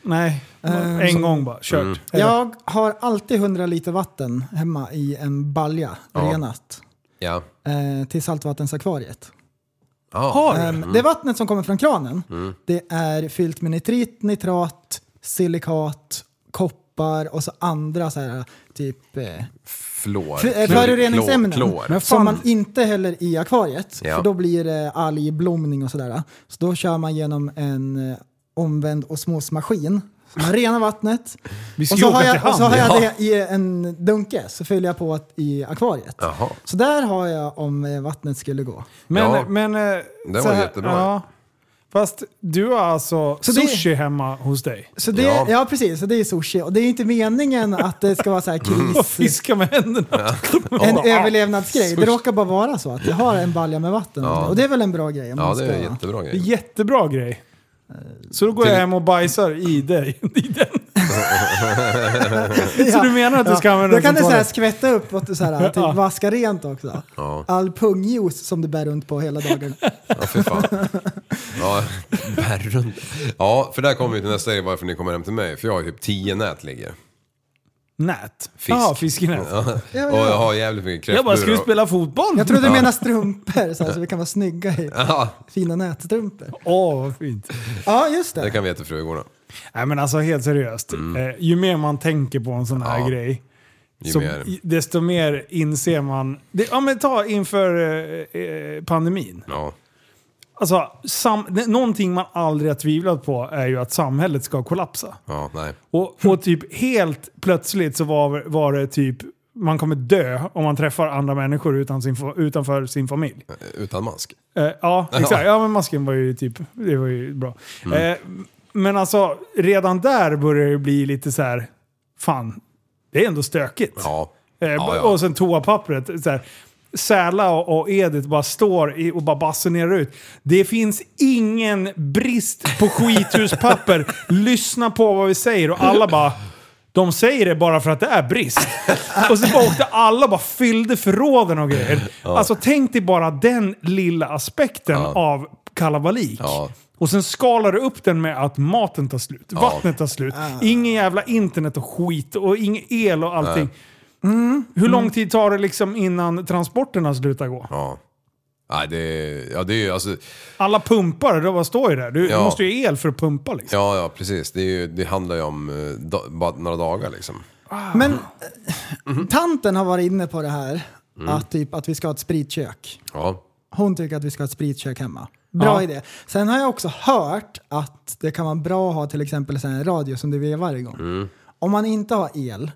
Speaker 1: Nej,
Speaker 2: Eh,
Speaker 1: en gång bara. Kört.
Speaker 3: Mm.
Speaker 1: Eller-
Speaker 2: Jag har alltid 100 liter vatten hemma i en balja,
Speaker 3: Ja.
Speaker 2: renat,
Speaker 3: Ja.
Speaker 2: eh, till saltvattensakvariet.
Speaker 3: Ah.
Speaker 2: Ehm, Det vattnet som kommer från kranen,
Speaker 3: Mm.
Speaker 2: det är fyllt med nitrit, nitrat, silikat, koppar och så andra så här, typ eh,
Speaker 3: Flår.
Speaker 2: För- eh,
Speaker 3: Klor-
Speaker 2: Föroreningsämnen
Speaker 3: Klor. klor.
Speaker 2: som man inte häller i akvariet.
Speaker 3: Ja.
Speaker 2: För då blir det algblomning och sådär. Så då kör man genom en eh, omvänd osmosmaskin. Så man renar vattnet.
Speaker 1: Vi ska
Speaker 2: Och
Speaker 1: ju
Speaker 2: så, har
Speaker 1: åka
Speaker 2: jag,
Speaker 1: till
Speaker 2: och så har
Speaker 1: hamn.
Speaker 2: jag det i en dunke, så fyller jag på att- i akvariet.
Speaker 3: Jaha.
Speaker 2: Så där har jag om eh, vattnet skulle gå.
Speaker 1: Men,
Speaker 3: Ja.
Speaker 1: men... eh,
Speaker 3: var
Speaker 1: så
Speaker 3: jättebra.
Speaker 1: Fast du har alltså
Speaker 2: Så det-
Speaker 1: sushi hemma hos dig?
Speaker 2: Så det,
Speaker 3: Ja.
Speaker 2: ja. precis, så det är sushi. Och det är inte meningen att det ska vara så här
Speaker 3: Mm. [LAUGHS]
Speaker 2: kris,
Speaker 1: Fiska med händerna. [LAUGHS]
Speaker 2: en överlevnadsgrej. Det råkar bara vara så att jag har en balja med vatten. Och det är väl en bra grej om
Speaker 3: Ja,
Speaker 2: man
Speaker 3: det är
Speaker 2: ska...
Speaker 3: en jättebra
Speaker 1: Det är
Speaker 3: grej.
Speaker 1: jättebra grej.
Speaker 2: Eh,
Speaker 1: Så då går
Speaker 3: till-
Speaker 1: jag hem och bajsar i dig. [LAUGHS] I
Speaker 3: [LAUGHS]
Speaker 1: den.
Speaker 2: Ja.
Speaker 1: Så du menar att du ska använda
Speaker 2: Då
Speaker 1: den
Speaker 2: kan du
Speaker 1: som
Speaker 2: så här
Speaker 1: toalett?
Speaker 2: skvätta upp och du så här,
Speaker 1: [LAUGHS]
Speaker 2: typ
Speaker 1: Ja.
Speaker 2: vaska rent också.
Speaker 3: Ja,
Speaker 2: All pungjuice som du bär runt på hela dagen.
Speaker 3: ja
Speaker 1: [LAUGHS]
Speaker 3: fy fan. Ja, bär runt. Ja, för där kommer vi till nästa grej varför ni kommer hem till mig. För jag har ju typ 10 nät ligger.
Speaker 1: Nät.
Speaker 3: Fisk.
Speaker 1: Ja, fiskenät.
Speaker 3: [LAUGHS] Och jag har jävligt mycket kräftburor.
Speaker 1: Jag bara, ska vi spela fotboll?
Speaker 2: Jag trodde du menade strumpor så, här, så vi kan vara snygga i
Speaker 3: Ja,
Speaker 2: fina nätstrumpor.
Speaker 1: Åh, vad fint.
Speaker 2: Ja, just
Speaker 3: det
Speaker 2: det.
Speaker 3: kan vi ge till frugorna.
Speaker 1: Nej men alltså helt seriöst. Eh, ju mer man tänker på en sån här
Speaker 3: Ja.
Speaker 1: grej,
Speaker 3: Ju
Speaker 1: så,
Speaker 3: mer.
Speaker 1: desto mer inser man. Det, ja men ta inför eh, eh, pandemin.
Speaker 3: Ja.
Speaker 1: Alltså, sam, det- någonting man aldrig har tvivlat på är ju att samhället ska kollapsa.
Speaker 3: ja, nej.
Speaker 1: Och, och typ helt plötsligt så var, var det typ man kommer dö om man träffar andra människor utan sin, fa- utanför sin familj.
Speaker 3: Utan mask.
Speaker 1: Eh, ja, exakt. Ja, men masken var ju typ, det var ju bra. Eh, men alltså, redan där börjar det bli lite så här, fan, det är ändå stökigt.
Speaker 3: Ja.
Speaker 1: Eh,
Speaker 3: ja.
Speaker 1: Och sen toapappret. Så här. Säla och och Edith bara står i, och bara basunerar ut. Det finns ingen brist på skithuspapper.
Speaker 3: [LAUGHS]
Speaker 1: Lyssna på vad vi säger. Och alla bara... De säger det bara för att det är brist. Och så bara åkte alla och bara fyllde förråden och grejer. Alltså tänk dig bara den lilla aspekten av kalabalik.
Speaker 3: Ja.
Speaker 1: Och sen skalar du upp den med att maten tar slut, vattnet tar slut, ingen jävla internet och skit och ingen el och allting. Hur lång tid tar det liksom innan transporterna slutar gå?
Speaker 3: Ja. Nej, det är, ja, det är ju alltså,
Speaker 1: Alla pumpar, de bara står ju där. Du,
Speaker 3: Ja.
Speaker 1: du måste ju el för att pumpa liksom.
Speaker 3: ja, ja precis. Det, är ju, det handlar ju om eh, da, bara några dagar liksom.
Speaker 2: Men eh,
Speaker 3: Mm.
Speaker 2: tanten har varit inne på det här, att, typ, att vi ska ha ett spritkök.
Speaker 3: Ja,
Speaker 2: Hon tycker att vi ska ha ett spritkök hemma. Bra
Speaker 1: Ja.
Speaker 2: idé. Sen har jag också hört att det kan vara bra att ha till exempel så här en radio som du vevar igång.
Speaker 3: Mm.
Speaker 2: Om man inte har el,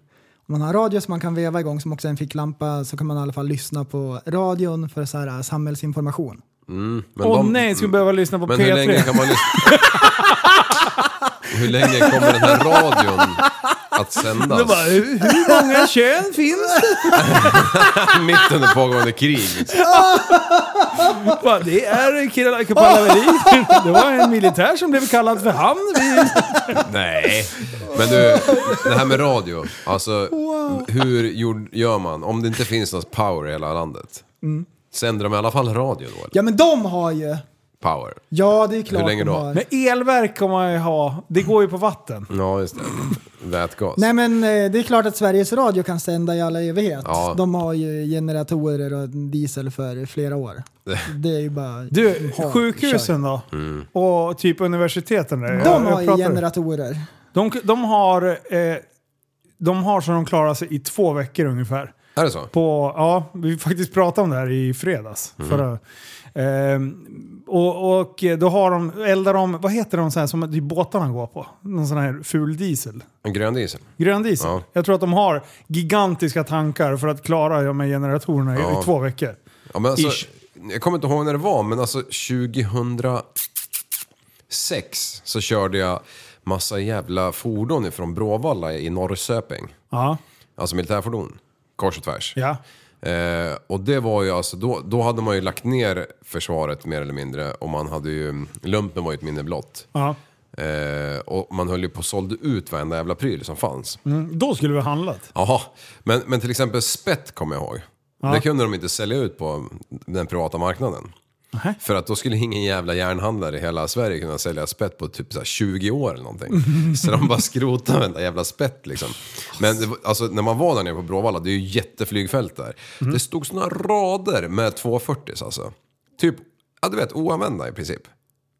Speaker 2: om man har radio som man kan veva igång som också är en ficklampa så kan man i alla fall lyssna på radion för så här äh, samhällsinformation.
Speaker 3: men
Speaker 1: Åh
Speaker 3: de-
Speaker 1: nej, jag skulle behöva lyssna på
Speaker 3: Men hur länge
Speaker 1: P3.
Speaker 3: kan man lyssna? hur länge kommer den här radion att sändas?
Speaker 1: Det bara, hur, hur många kön
Speaker 3: [LAUGHS]
Speaker 1: finns det?
Speaker 3: Mitt under pågående krig. Liksom.
Speaker 1: Bara, Det är Kirala
Speaker 3: [LAUGHS]
Speaker 1: Kapalaveri. Det var en militär som blev kallad för hamn. Vi-
Speaker 3: Nej. Men du, det här med radio. Alltså, hur gjord- gör man? Om det inte finns någon power i hela landet.
Speaker 1: Mm.
Speaker 3: Sänder de i alla fall radio då? Eller?
Speaker 2: Ja men de har ju,
Speaker 3: Power.
Speaker 2: ja det är klart
Speaker 3: Hur länge
Speaker 2: de
Speaker 3: då?
Speaker 2: har.
Speaker 1: Men elverk kommer man ju ha. Det går ju på vatten.
Speaker 3: Ja, just det. Vätgas.
Speaker 2: Nej men eh, det är klart att Sveriges Radio kan sända i all evighet.
Speaker 3: Ja.
Speaker 2: De har ju generatorer och diesel för
Speaker 3: [LAUGHS]
Speaker 2: flera år. Det är ju bara...
Speaker 1: Du,
Speaker 2: Ha,
Speaker 1: sjukhusen då?
Speaker 3: Mm.
Speaker 1: Och typ universiteten där?
Speaker 2: De har
Speaker 1: Jag
Speaker 2: ju
Speaker 1: pratar-
Speaker 2: generatorer.
Speaker 1: De, de har... Eh, de har så de klarar sig i två veckor ungefär.
Speaker 3: Är det så?
Speaker 1: På, ja, vi faktiskt pratade om det här i fredags.
Speaker 3: Mm.
Speaker 1: Förra, ehm, och, och då har de, eldar de, vad heter de så här som typ båtarna går på? Någon sån här ful diesel.
Speaker 3: En grön diesel?
Speaker 1: Grön diesel.
Speaker 3: Ja.
Speaker 1: Jag tror att de har gigantiska tankar för att klara de här generatorerna i,
Speaker 3: Ja.
Speaker 1: i två veckor.
Speaker 3: Ja, men alltså,
Speaker 1: Ish.
Speaker 3: jag kommer inte ihåg när det var, men alltså 2006 så körde jag massa jävla fordon ifrån Bråvalla i Norrköping.
Speaker 1: Ja,
Speaker 3: Alltså militärfordon. Kors och tvärs.
Speaker 1: ja.
Speaker 3: Eh, och det var ju alltså, då, då hade man ju lagt ner försvaret mer eller mindre och man hade ju, lumpen var ju ett minne blott.
Speaker 1: Ja.
Speaker 3: Eh, och man höll ju på och sålde ut varenda jävla pryl som fanns.
Speaker 1: Mm, då skulle vi ha handlat.
Speaker 3: Jaha, men, men till exempel spett kommer jag ihåg. Det kunde de inte sälja ut på den privata marknaden. För att då skulle ingen jävla järnhandlare i hela Sverige kunna sälja spett på typ så här 20 år eller någonting. Så de bara skrotade varenda jävla spett liksom. Men det, var- alltså, när man var där nere på Bråvalla, det är ju jätteflygfält där. Det stod såna rader med 240 alltså. Typ, ja du vet, oanvända i princip.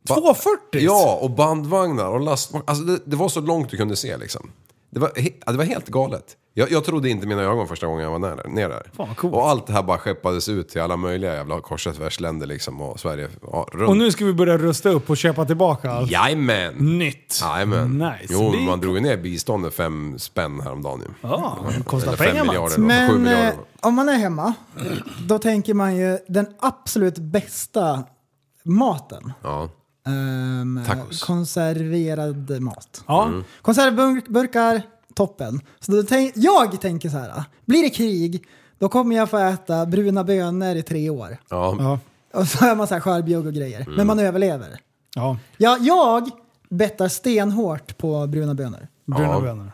Speaker 3: Ba-
Speaker 1: 240?
Speaker 3: Ja, och bandvagnar och lastbilar. Alltså det, det var så långt du kunde se liksom. Det var, he- ja, det var helt galet. Jag, jag trodde inte mina ögon första gången jag var nere, nere där.
Speaker 1: Fan, vad coolt.
Speaker 3: Och allt det här bara skeppades ut till alla möjliga jävla kors och tvärsländer liksom och Sverige ja, runt.
Speaker 1: Och nu ska vi börja rusta upp och köpa tillbaka allt.
Speaker 3: Jajamän!
Speaker 1: Nytt.
Speaker 3: Jajamän.
Speaker 1: Nice.
Speaker 3: Jo,
Speaker 1: Det-
Speaker 3: man drog ju ner biståndet fem spänn häromdagen ju.
Speaker 1: Ja, det kostar
Speaker 3: Eller fem
Speaker 1: pengar Mats.
Speaker 3: miljarder, sju
Speaker 2: Men eh,
Speaker 3: miljarder.
Speaker 2: om man är hemma, då tänker man ju den absolut bästa maten.
Speaker 3: Ja.
Speaker 2: Ehm,
Speaker 3: Tacos.
Speaker 2: Konserverad mat.
Speaker 1: Ja.
Speaker 3: Mm.
Speaker 2: Konservburkar, toppen. Så då tänk, jag tänker så här, blir det krig, då kommer jag få äta bruna bönor i tre år.
Speaker 3: Ja.
Speaker 1: Ja.
Speaker 2: Och så har man så här skörbjugg och grejer. Men man
Speaker 3: Mm.
Speaker 2: överlever.
Speaker 1: ja.
Speaker 2: Ja, jag bettar stenhårt på bruna bönor.
Speaker 1: Bruna
Speaker 3: Ja.
Speaker 1: vänner.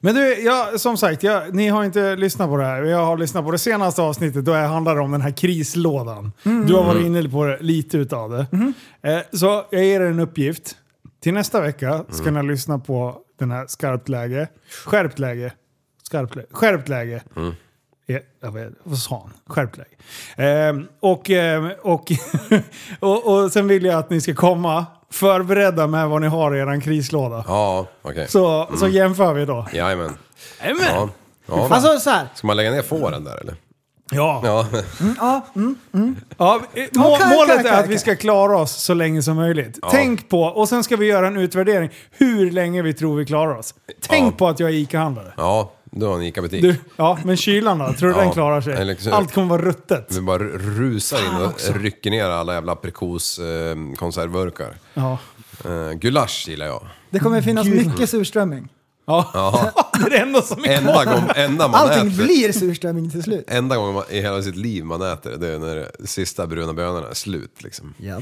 Speaker 1: Men du, jag, som sagt, jag, ni har inte lyssnat på det här. Jag har lyssnat på det senaste avsnittet då jag handlar om den här krislådan. Du har varit inne på det, lite utav det. Eh, så jag ger er en uppgift. Till nästa vecka ska ni lyssna på den här skarpt läge. Skärpt läge. Skarpt läge. Skärpt läge. Eh, Ja, jag vet, vad sa han? Skärpt läge. Ehm, och, ehm, och, [LAUGHS] och, och sen vill jag att ni ska komma förberedda med vad ni har i er krislåda.
Speaker 3: Ja, okej.
Speaker 1: Så, så jämför vi då.
Speaker 3: Jajamän.
Speaker 1: Jajamän! [LAUGHS]
Speaker 3: Ja. Ja.
Speaker 2: Alltså så här,
Speaker 3: Ska man lägga ner fåren där eller?
Speaker 1: Ja. ja.
Speaker 3: Ja.
Speaker 1: eh, må,
Speaker 2: Okej, okej,
Speaker 1: målet
Speaker 2: okej,
Speaker 1: är att
Speaker 2: okej.
Speaker 1: vi ska klara oss så länge som möjligt. Tänk på, och sen ska vi göra en utvärdering, hur länge vi tror vi klarar oss. Tänk
Speaker 3: Ja.
Speaker 1: på att jag är ICA-handlare.
Speaker 3: Ja, du har en ICA-butik.
Speaker 1: Du, ja, liksom- men kylan då? Tror du
Speaker 3: Ja.
Speaker 1: den klarar
Speaker 3: Eller
Speaker 1: sig?
Speaker 3: så-
Speaker 1: Allt kommer vara ruttet.
Speaker 3: Vi bara rusar
Speaker 1: Ah,
Speaker 3: in och rycker ner alla jävla aprikoskonservburkar.
Speaker 1: Ja.
Speaker 3: Eh, gulasch gillar jag.
Speaker 2: det kommer finnas mycket surströmming.
Speaker 1: Ja. det är det enda som är kvar.
Speaker 3: Enda, gång, enda man
Speaker 2: Allting
Speaker 3: äter.
Speaker 2: blir surströmming till slut.
Speaker 3: Enda gången man, i hela sitt liv man äter det, det är när de sista bruna bönorna är slut liksom. [LAUGHS]
Speaker 2: Ja.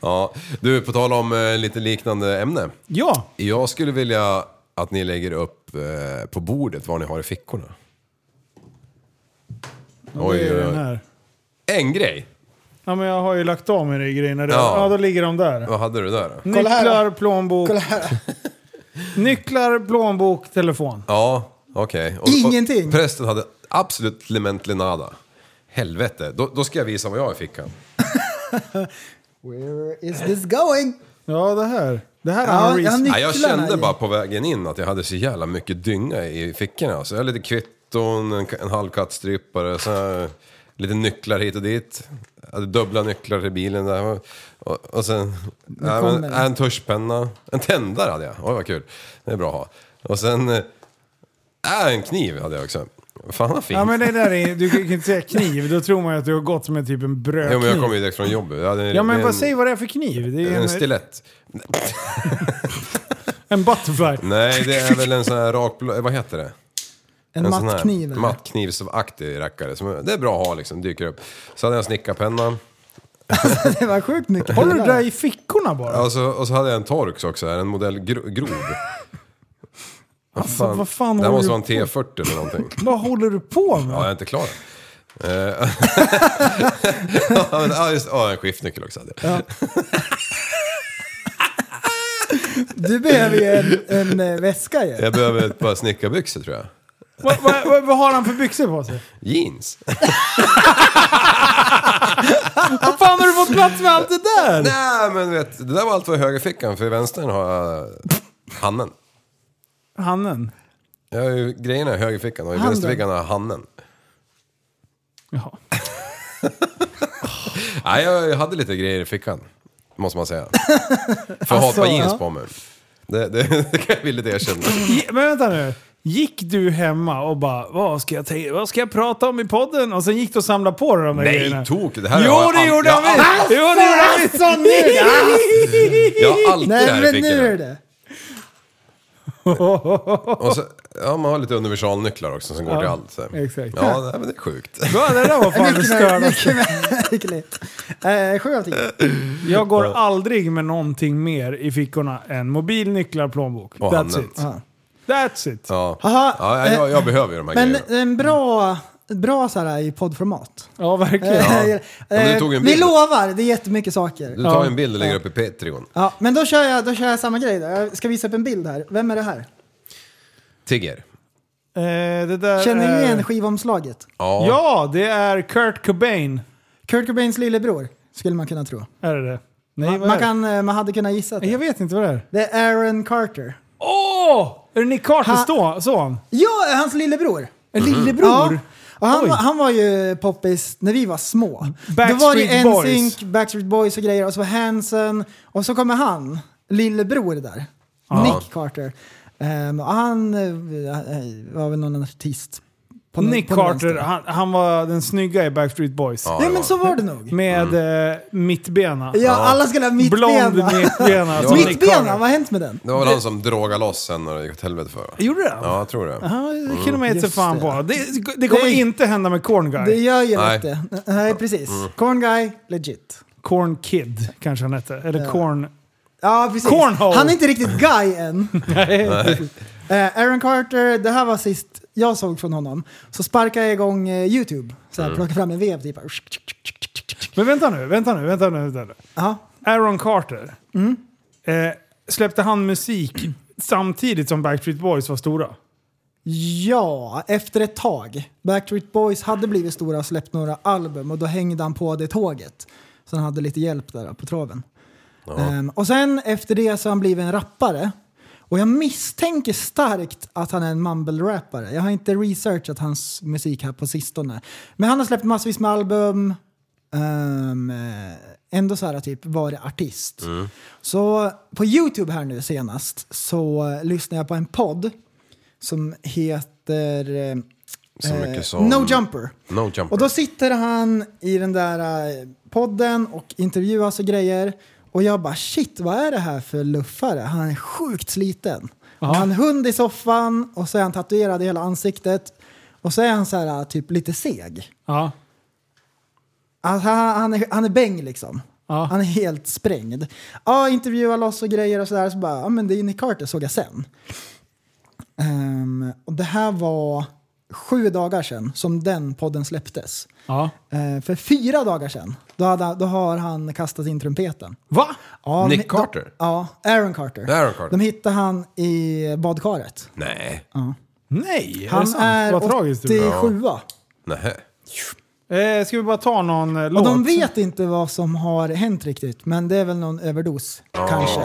Speaker 3: Ja, du, på tal om eh, lite liknande ämne.
Speaker 1: Ja.
Speaker 3: Jag skulle vilja att ni lägger upp eh, på bordet vad ni har i fickorna.
Speaker 1: Det
Speaker 3: Oj,
Speaker 1: är den
Speaker 3: oj, oj.
Speaker 1: här.
Speaker 3: En grej!
Speaker 1: Ja, men jag har ju lagt av mig det i grejerna. Ja.
Speaker 3: Ja.
Speaker 1: ja, då ligger de där.
Speaker 3: Vad hade du där då?
Speaker 2: Kolla här då.
Speaker 1: Nycklar, plånbok.
Speaker 2: Kolla här.
Speaker 1: Nycklar, plånbok, telefon.
Speaker 3: Ja, okej. Och-
Speaker 2: Ingenting.
Speaker 3: Och prästen hade absolut lementli nada. Helvete, då, då ska jag visa vad jag har i fickan.
Speaker 2: Where is this going?
Speaker 1: Ja, det här. Det här
Speaker 2: Ja,
Speaker 1: är
Speaker 2: jag har
Speaker 1: en
Speaker 2: ny-
Speaker 3: Nej, jag
Speaker 2: Nycklarna
Speaker 3: kände
Speaker 2: i.
Speaker 3: bara på vägen in att jag hade så jävla mycket dynga i fickorna. Alltså, jag har lite kvitton, en, en halvkattstrippare, så här, lite nycklar hit och dit. Jag hade dubbla nycklar till bilen där. Och, och sen nej, men,
Speaker 2: kommer det.
Speaker 3: nej, en tuschpenna. En tändare hade jag. Oj, vad kul. Det är bra att ha. Och sen... Äh, en kniv hade jag också. Fan vad fint.
Speaker 1: Ja men det där är, du kan ju inte säga kniv, då tror man ju att du har gått som en typ en brödkniv.
Speaker 3: jo, men jag kom ju direkt från jobbet. Jag hade en-
Speaker 1: Ja men
Speaker 3: en-
Speaker 1: vad, säg vad det är för kniv. Det är
Speaker 3: En
Speaker 1: en,
Speaker 3: stilett.
Speaker 1: en butterfly.
Speaker 3: Nej, det är väl en sån här rakblå... Vad heter det?
Speaker 2: En
Speaker 3: sån här
Speaker 2: mattkniv. eller?
Speaker 3: Mattknivsaktig rackare. Som, det är bra att ha liksom, dyker upp. Så hade jag en snickarpenna.
Speaker 2: Det var sjukt mycket.
Speaker 1: Håller du det där i fickorna bara?
Speaker 3: Alltså, och så hade jag en Torx också, här, en modell gro- grov.
Speaker 1: Alltså, vad fan
Speaker 3: det här
Speaker 1: håller
Speaker 3: måste
Speaker 1: du
Speaker 3: vara en T40 eller någonting.
Speaker 1: Vad håller du på
Speaker 3: Ja,
Speaker 1: med?
Speaker 3: jag är inte klar än. Eh, [LAUGHS] ja, men, ja, just, ja, en skiftnyckel också hade jag.
Speaker 2: Du behöver ju en, en eh, väska ju.
Speaker 3: Jag behöver ett par snickarbyxor tror jag.
Speaker 1: Vad, vad, vad, vad har han för byxor på sig? [LAUGHS]
Speaker 3: Jeans.
Speaker 1: Vad fan har du fått plats med allt det där?
Speaker 3: Nej, men vet, det där var allt för högerfickan, för i vänstern har jag hannen.
Speaker 1: Hannen.
Speaker 3: Jag har ju grejerna i högerfickan och i
Speaker 2: Handen.
Speaker 3: vänsterfickan har jag hannen.
Speaker 1: Jaha.
Speaker 3: Nej, jag hade lite grejer i fickan. Måste man säga. För att ha ett par jeans på mig. Det, det, [LAUGHS] det kan jag villigt erkänna.
Speaker 1: Ge- Men vänta nu. Gick du hemma och bara vad ska, jag ta- vad ska jag prata om i podden? Och sen gick du och samlade på dig de där grejerna?
Speaker 3: Nej, tok. Det här
Speaker 1: Jo
Speaker 3: har jag
Speaker 1: det
Speaker 3: all-
Speaker 1: gjorde
Speaker 3: jag
Speaker 1: han
Speaker 3: har all-
Speaker 1: visst! Jo det gjorde han visst!
Speaker 2: Alltså nu!
Speaker 3: Jag har alltid det
Speaker 2: Nej
Speaker 3: här i
Speaker 2: men nu är
Speaker 3: fickan.
Speaker 2: det.
Speaker 3: Och så, Ja, man har lite universalnycklar också som går
Speaker 1: Ja,
Speaker 3: till allt. Så. här.
Speaker 1: exakt.
Speaker 3: Ja, nej, men det är sjukt.
Speaker 1: Ja, det där var fan det stördaste.
Speaker 2: Mycket märkligt. Eh, Sju av tio.
Speaker 1: Jag går aldrig med någonting mer i fickorna än mobil, nycklar, plånbok.
Speaker 3: Och
Speaker 1: That's
Speaker 3: handen.
Speaker 1: it. That's it.
Speaker 3: Ja,
Speaker 2: Haha,
Speaker 3: ja jag, jag, jag behöver ju de här
Speaker 2: Men
Speaker 3: grejerna.
Speaker 2: en bra, bra så här i poddformat.
Speaker 1: Ja, verkligen.
Speaker 2: Eh,
Speaker 3: men du tog en
Speaker 2: vi
Speaker 3: bild. Mm.
Speaker 2: lovar, det är jättemycket saker.
Speaker 3: Du tar
Speaker 1: Ja.
Speaker 3: en bild och lägger upp i Patreon.
Speaker 2: Ja, men då kör, jag, då kör jag samma grej. Då. Jag ska visa upp en bild här. Vem är det här?
Speaker 3: Tigger.
Speaker 1: Eh, det där
Speaker 2: Känner
Speaker 1: är-
Speaker 2: ni igen skivomslaget?
Speaker 3: Ja.
Speaker 1: Ja, det är Kurt Cobain.
Speaker 2: Kurt Cobains lillebror, skulle man kunna tro.
Speaker 1: Är det det? Nej, vad
Speaker 2: Man,
Speaker 1: är
Speaker 2: kan, eh, man hade kunnat gissa
Speaker 1: det? Jag
Speaker 2: det.
Speaker 1: vet inte vad det är.
Speaker 2: Det är Aaron Carter.
Speaker 1: Åh! Är det Nick Carters
Speaker 2: Ha-
Speaker 1: då, son?
Speaker 2: Ja, hans lillebror!
Speaker 1: En
Speaker 2: Ja.
Speaker 1: lillebror? Oj.
Speaker 2: Och han, var- han var ju poppis när vi var små.
Speaker 1: Backstreet
Speaker 2: Då var det
Speaker 1: Boys.
Speaker 2: NSYNC, Backstreet Boys och grejer och så var Hanson och så kommer han, lillebror där, Nick Carter. Ehm, och han eh, var väl någon artist. På någon-
Speaker 1: Nick
Speaker 2: på någon
Speaker 1: Carter,
Speaker 2: vänster.
Speaker 1: han, han var den snygga i Backstreet Boys.
Speaker 3: Ja, Mm.
Speaker 2: Ja
Speaker 3: det var-
Speaker 2: men så var det nog.
Speaker 1: Med eh, mittbena.
Speaker 2: Ja, alla skulle ha mittbena.
Speaker 1: Blond mittbena. som Nick
Speaker 2: mittbena,
Speaker 1: Carter.
Speaker 2: vad har hänt med den?
Speaker 3: Det var väl han som drogade loss sen när det gick åt helvete för va?
Speaker 1: Gjorde det?
Speaker 3: Ja, jag tror det.
Speaker 1: Ja,
Speaker 3: Mm.
Speaker 1: det kan de ge sig
Speaker 2: Just
Speaker 1: fan
Speaker 2: det.
Speaker 1: på. Det, det kommer
Speaker 2: Det är-
Speaker 1: inte hända med Corn Guy.
Speaker 2: Det gör ju
Speaker 3: Nej.
Speaker 2: inte. Nej, precis. Corn guy, legit.
Speaker 1: Corn Kid kanske han hette. Eller Corn...
Speaker 2: Ja, precis.
Speaker 1: Cornhole.
Speaker 2: Han är inte riktigt guy än. Eh, Aaron Carter, det här var sist jag såg från honom. Så sparkade jag igång eh, YouTube. Så här, plockade fram en vev typ.
Speaker 1: Men vänta nu, vänta nu, vänta nu. Vänta nu.
Speaker 2: Ja.
Speaker 1: Aaron Carter.
Speaker 2: Mm.
Speaker 1: Eh, släppte han musik samtidigt som Backstreet Boys var stora?
Speaker 2: ja, efter ett tag. Backstreet Boys hade blivit stora och släppt några album och då hängde han på det tåget. Så han hade lite hjälp där på traven. Ehm, och sen efter det så har han blivit en rappare. Och jag misstänker starkt att han är en mumble-rappare. Jag har inte researchat hans musik här på sistone. Men han har släppt massvis med album. Ehm, eh, ändå så här typ varit artist.
Speaker 3: Mm.
Speaker 2: Så på YouTube här nu senast så eh, lyssnar jag på en podd som heter eh,
Speaker 3: Så
Speaker 2: eh,
Speaker 3: mycket som-
Speaker 2: No Jumper.
Speaker 3: No jumper.
Speaker 2: Och då sitter han i den där eh, podden och intervjuas och grejer. Och jag bara shit, vad är det här för luffare? Han är sjukt sliten. Och Han har en hund i soffan och så är han tatuerad i hela ansiktet. Och så är han så här eh, typ lite seg.
Speaker 1: Ja.
Speaker 2: Alltså, han, han, är, han är bäng liksom.
Speaker 1: Ja.
Speaker 2: Han är helt sprängd. Ja, intervjuar loss och grejer och sådär. Så bara, ja men det är Nick Carter såg jag sen. Ehm, och det här var sju dagar sedan som den podden släpptes.
Speaker 1: ja.
Speaker 2: Eh, för fyra dagar sedan, då, hade, då har han kastat in trumpeten.
Speaker 1: Va?
Speaker 2: Ja,
Speaker 3: Nick
Speaker 2: men-
Speaker 3: Carter?
Speaker 2: Då, ja, Aaron Carter.
Speaker 3: Aaron Carter.
Speaker 2: De hittade han i badkaret.
Speaker 3: Nej.
Speaker 1: Nej, är det
Speaker 2: Han
Speaker 1: sant?
Speaker 2: är
Speaker 1: Vad tragiskt. det blev.
Speaker 2: 87
Speaker 3: Nej.
Speaker 1: Eh, ska vi bara ta någon eh,
Speaker 2: Och
Speaker 1: låt?
Speaker 2: de vet inte vad som har hänt riktigt, men det är väl någon överdos kanske.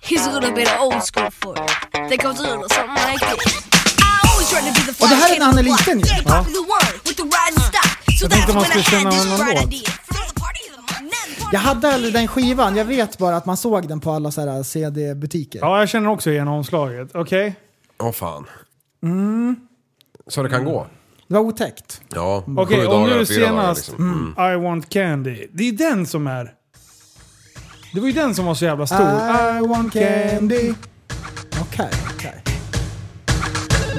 Speaker 7: Here's a little bit of old school for you. That goes a little something like this. I always tried to be the
Speaker 2: Och det här
Speaker 7: fly
Speaker 2: är när han är liten ju.
Speaker 7: Yeah, the popular one with the riding style. So
Speaker 1: Jag tänkte
Speaker 7: that's
Speaker 1: man
Speaker 7: when I
Speaker 1: skulle känna
Speaker 7: had this
Speaker 1: någon
Speaker 7: bright
Speaker 1: låt.
Speaker 7: idea. Throw the party of the month, now the party
Speaker 2: Jag hade
Speaker 7: of the
Speaker 2: aldrig den skivan, jag vet bara att man såg den på alla så här CD-butiker.
Speaker 1: Ja, jag känner också igen omslaget. Okej.
Speaker 3: Åh fan. Så det kan gå.
Speaker 2: Det var otäckt.
Speaker 3: Ja,
Speaker 1: Okej,
Speaker 3: sju
Speaker 1: och
Speaker 3: dagar,
Speaker 1: nu
Speaker 3: fyra dagar
Speaker 1: senast
Speaker 3: liksom. Mm.
Speaker 1: I want candy. Det är den som är... Det var ju den som var så jävla stor.
Speaker 2: Äh.
Speaker 1: I want candy.
Speaker 2: Candy. Okej, okej.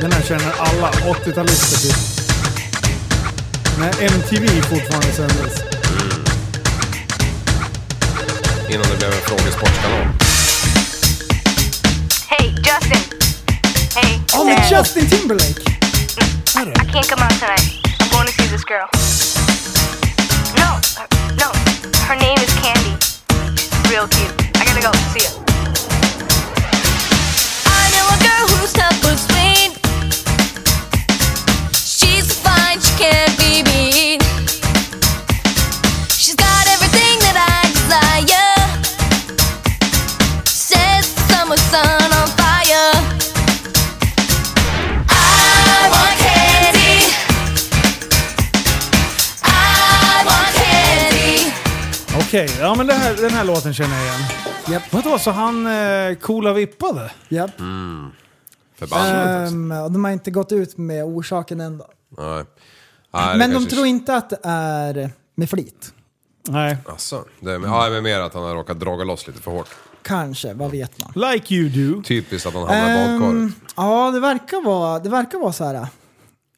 Speaker 1: Den här känner alla 80-talister till. När MTV fortfarande sändes.
Speaker 3: Innan det blev en frågesportkanal.
Speaker 7: Hey, Justin. Hey,
Speaker 2: Ja, men Justin Timberlake!
Speaker 7: I can't come out tonight. I'm going to see this girl. No, no. Her name is Candy. She's real cute. I gotta go. See ya. I know a girl who's tough but sweet. She's fine, she can't be beat. She's got everything that I desire. Sets the summer sun on fire. I want candy. I want candy.
Speaker 1: Okej, ja men det här, den här låten känner jag igen.
Speaker 2: Japp.
Speaker 1: Vadå, så han eh, coola vippade?
Speaker 2: Japp.
Speaker 1: Eh.
Speaker 3: Förbannat.
Speaker 2: Ehm, och de har inte gått ut med orsaken än då.
Speaker 3: Nej. Nej, det
Speaker 2: Men de
Speaker 3: kanske-
Speaker 2: tror inte att det är med flit.
Speaker 1: Nej.
Speaker 3: Alltså, det, men, ja, men mer att han har råkat draga loss lite för hårt.
Speaker 2: Kanske, vad vet man?
Speaker 1: Like you do.
Speaker 3: Typiskt att han hamnar i
Speaker 2: Ehm,
Speaker 3: badkaret.
Speaker 2: ja, det verkar vara, det verkar vara så här äh,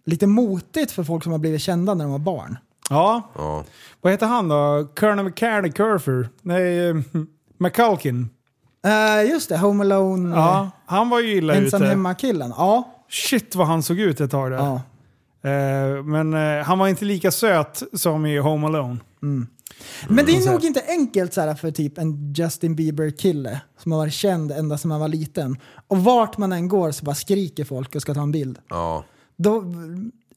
Speaker 2: lite motigt för folk som har blivit kända när de var barn.
Speaker 1: Ja.
Speaker 3: Ja.
Speaker 1: Vad heter han då? Colonel McCarney Curfer? Nej, eh, McCulkin.
Speaker 2: Eh, just det, Home Alone,
Speaker 1: Ja, han var ju illa
Speaker 2: eh, ensam
Speaker 1: ute.
Speaker 2: hemma-killen. Ja,
Speaker 1: Shit vad han såg ut ett tag där.
Speaker 2: ja.
Speaker 1: Eh, men eh, han var inte lika söt som i Home Alone.
Speaker 2: Men det är nog inte enkelt så här, för typ en Justin Bieber-kille som har varit känd ända sedan man var liten. Och vart man än går så bara skriker folk och ska ta en bild.
Speaker 3: Ja,
Speaker 2: Då,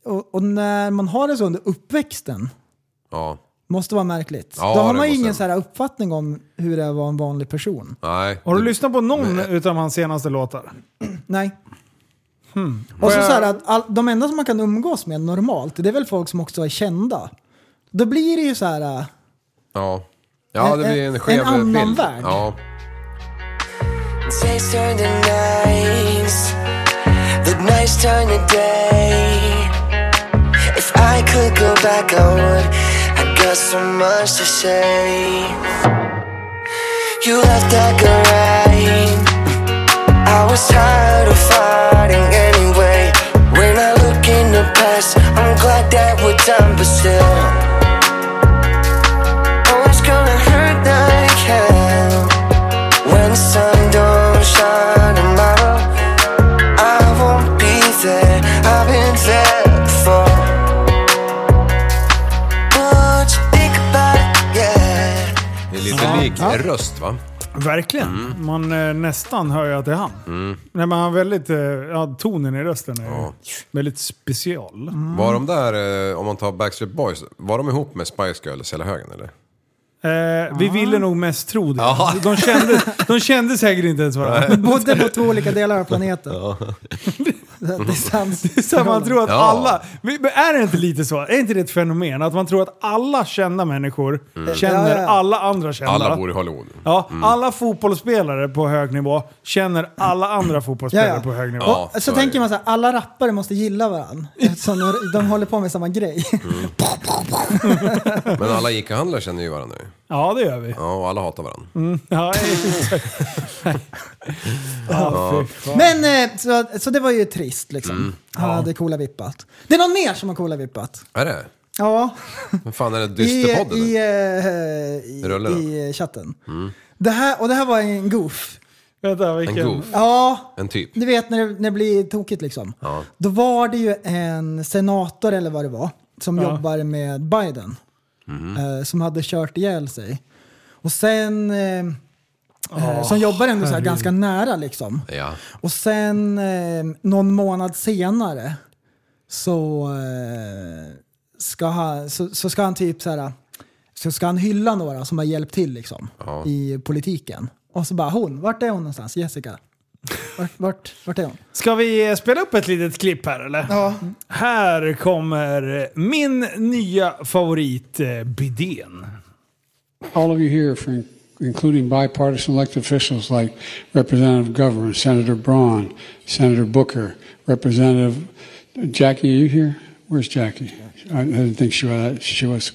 Speaker 2: och, och när man har det så under uppväxten
Speaker 3: ja.
Speaker 2: Måste vara märkligt.
Speaker 3: Ja,
Speaker 2: Då har
Speaker 3: det
Speaker 2: man ju
Speaker 3: måste
Speaker 2: ingen
Speaker 3: det.
Speaker 2: så här uppfattning om hur det är att vara en vanlig person.
Speaker 3: Nej.
Speaker 1: Har du
Speaker 3: Det-
Speaker 1: lyssnat på någon
Speaker 3: Nej.
Speaker 1: utav hans senaste låtar?
Speaker 2: Nej. Och så,
Speaker 1: jag-
Speaker 2: så här att all, de enda som man kan umgås med normalt, det är väl folk som också är kända. Då blir det ju så här... äh,
Speaker 3: Ja. Ja, det
Speaker 2: En-
Speaker 3: blir
Speaker 2: en-
Speaker 1: Eh,
Speaker 3: en skev
Speaker 2: en annan
Speaker 3: bild.
Speaker 2: värld.
Speaker 3: Ja.
Speaker 4: Days turn to nights. The nights turn to day. If I could go back, I would. I got so much to say. You left like a right. I was tired of fighting anyway. When I look in the past, I'm glad that we're done, but still. Oh, it's gonna hurt like hell. When the sun don't shine tomorrow, I won't be there. I've been there before. What you think about it? Yeah.
Speaker 3: Det är lite lik röst va?
Speaker 1: Verkligen.
Speaker 3: Mm.
Speaker 1: Man eh, nästan hör ju att det är han. Nej, men han har väldigt, eh, ja, tonen i rösten är väldigt special.
Speaker 2: Mm.
Speaker 3: Var de där, eh, om man tar Backstreet Boys, var de ihop med Spice Girls hela högen eller?
Speaker 1: Eh, vi ville nog mest tro det.
Speaker 3: Ja.
Speaker 1: De, kände, de kände säkert inte ens varandra.
Speaker 2: Bodde på två olika delar
Speaker 3: [LAUGHS]
Speaker 2: av planeten. Distans.
Speaker 1: Så man tror att
Speaker 3: Ja.
Speaker 1: alla... Men är det inte lite så? Är inte det ett fenomen? Att man tror att alla kända människor känner
Speaker 2: Ja, ja.
Speaker 1: alla andra kända.
Speaker 3: Mm. Alla Mm. bor i Hollywood.
Speaker 1: Ja, alla fotbollsspelare på hög nivå känner alla andra fotbollsspelare
Speaker 2: Ja, ja.
Speaker 1: på hög nivå.
Speaker 3: Ja,
Speaker 2: så,
Speaker 3: så är
Speaker 2: tänker
Speaker 3: det.
Speaker 2: man så här, alla rappare måste
Speaker 1: [LAUGHS]
Speaker 2: gilla varandra. Eftersom de, de håller på med samma grej.
Speaker 3: Men alla Ica-handlare känner ju varandra nu.
Speaker 1: Ja, det gör vi.
Speaker 3: Ja, och alla hatar varandra.
Speaker 1: Ja, exakt. ja, fy fan.
Speaker 2: Men eh, så, så det var ju trist liksom.
Speaker 3: Mm.
Speaker 2: Han hade coola vippat. Det är någon mer som har coola vippat.
Speaker 3: Är det?
Speaker 2: Ja.
Speaker 3: Vad fan är det?
Speaker 2: i,
Speaker 3: Dysterpodden?
Speaker 2: i, eh, i,
Speaker 3: Rullar Mm. den?
Speaker 2: i chatten. Det här, och det här var en goof.
Speaker 1: Vänta,
Speaker 3: en
Speaker 1: vilken...
Speaker 3: goof?
Speaker 2: Ja,
Speaker 3: En typ?
Speaker 2: du vet när det, när det blir tokigt liksom. Då var det ju en senator eller vad det var som jobbar med Biden.
Speaker 3: Mm.
Speaker 2: Eh, som hade kört ihjäl sig. Och sen... Eh, eh, som jobbar ändå så här ganska nära liksom.
Speaker 3: Ja.
Speaker 2: Och sen eh, någon månad senare så, eh, ska, han, så, så ska han typ så här, så ska han hylla några som har hjälpt till liksom, i politiken. Och så bara hon, vart är hon någonstans? Jessica? Vart, vart, vart är hon?
Speaker 1: Ska vi eh, spela upp ett litet klipp här eller?
Speaker 2: Ja.
Speaker 1: Här kommer eh, min nya favorit, eh, Bidén.
Speaker 4: all of you here, for, including bipartisan elected officials like Representative Governor, Senator Braun, Senator Booker, Representative Jackie. Are you here? Where's Jackie? I, I didn't think she was. She was.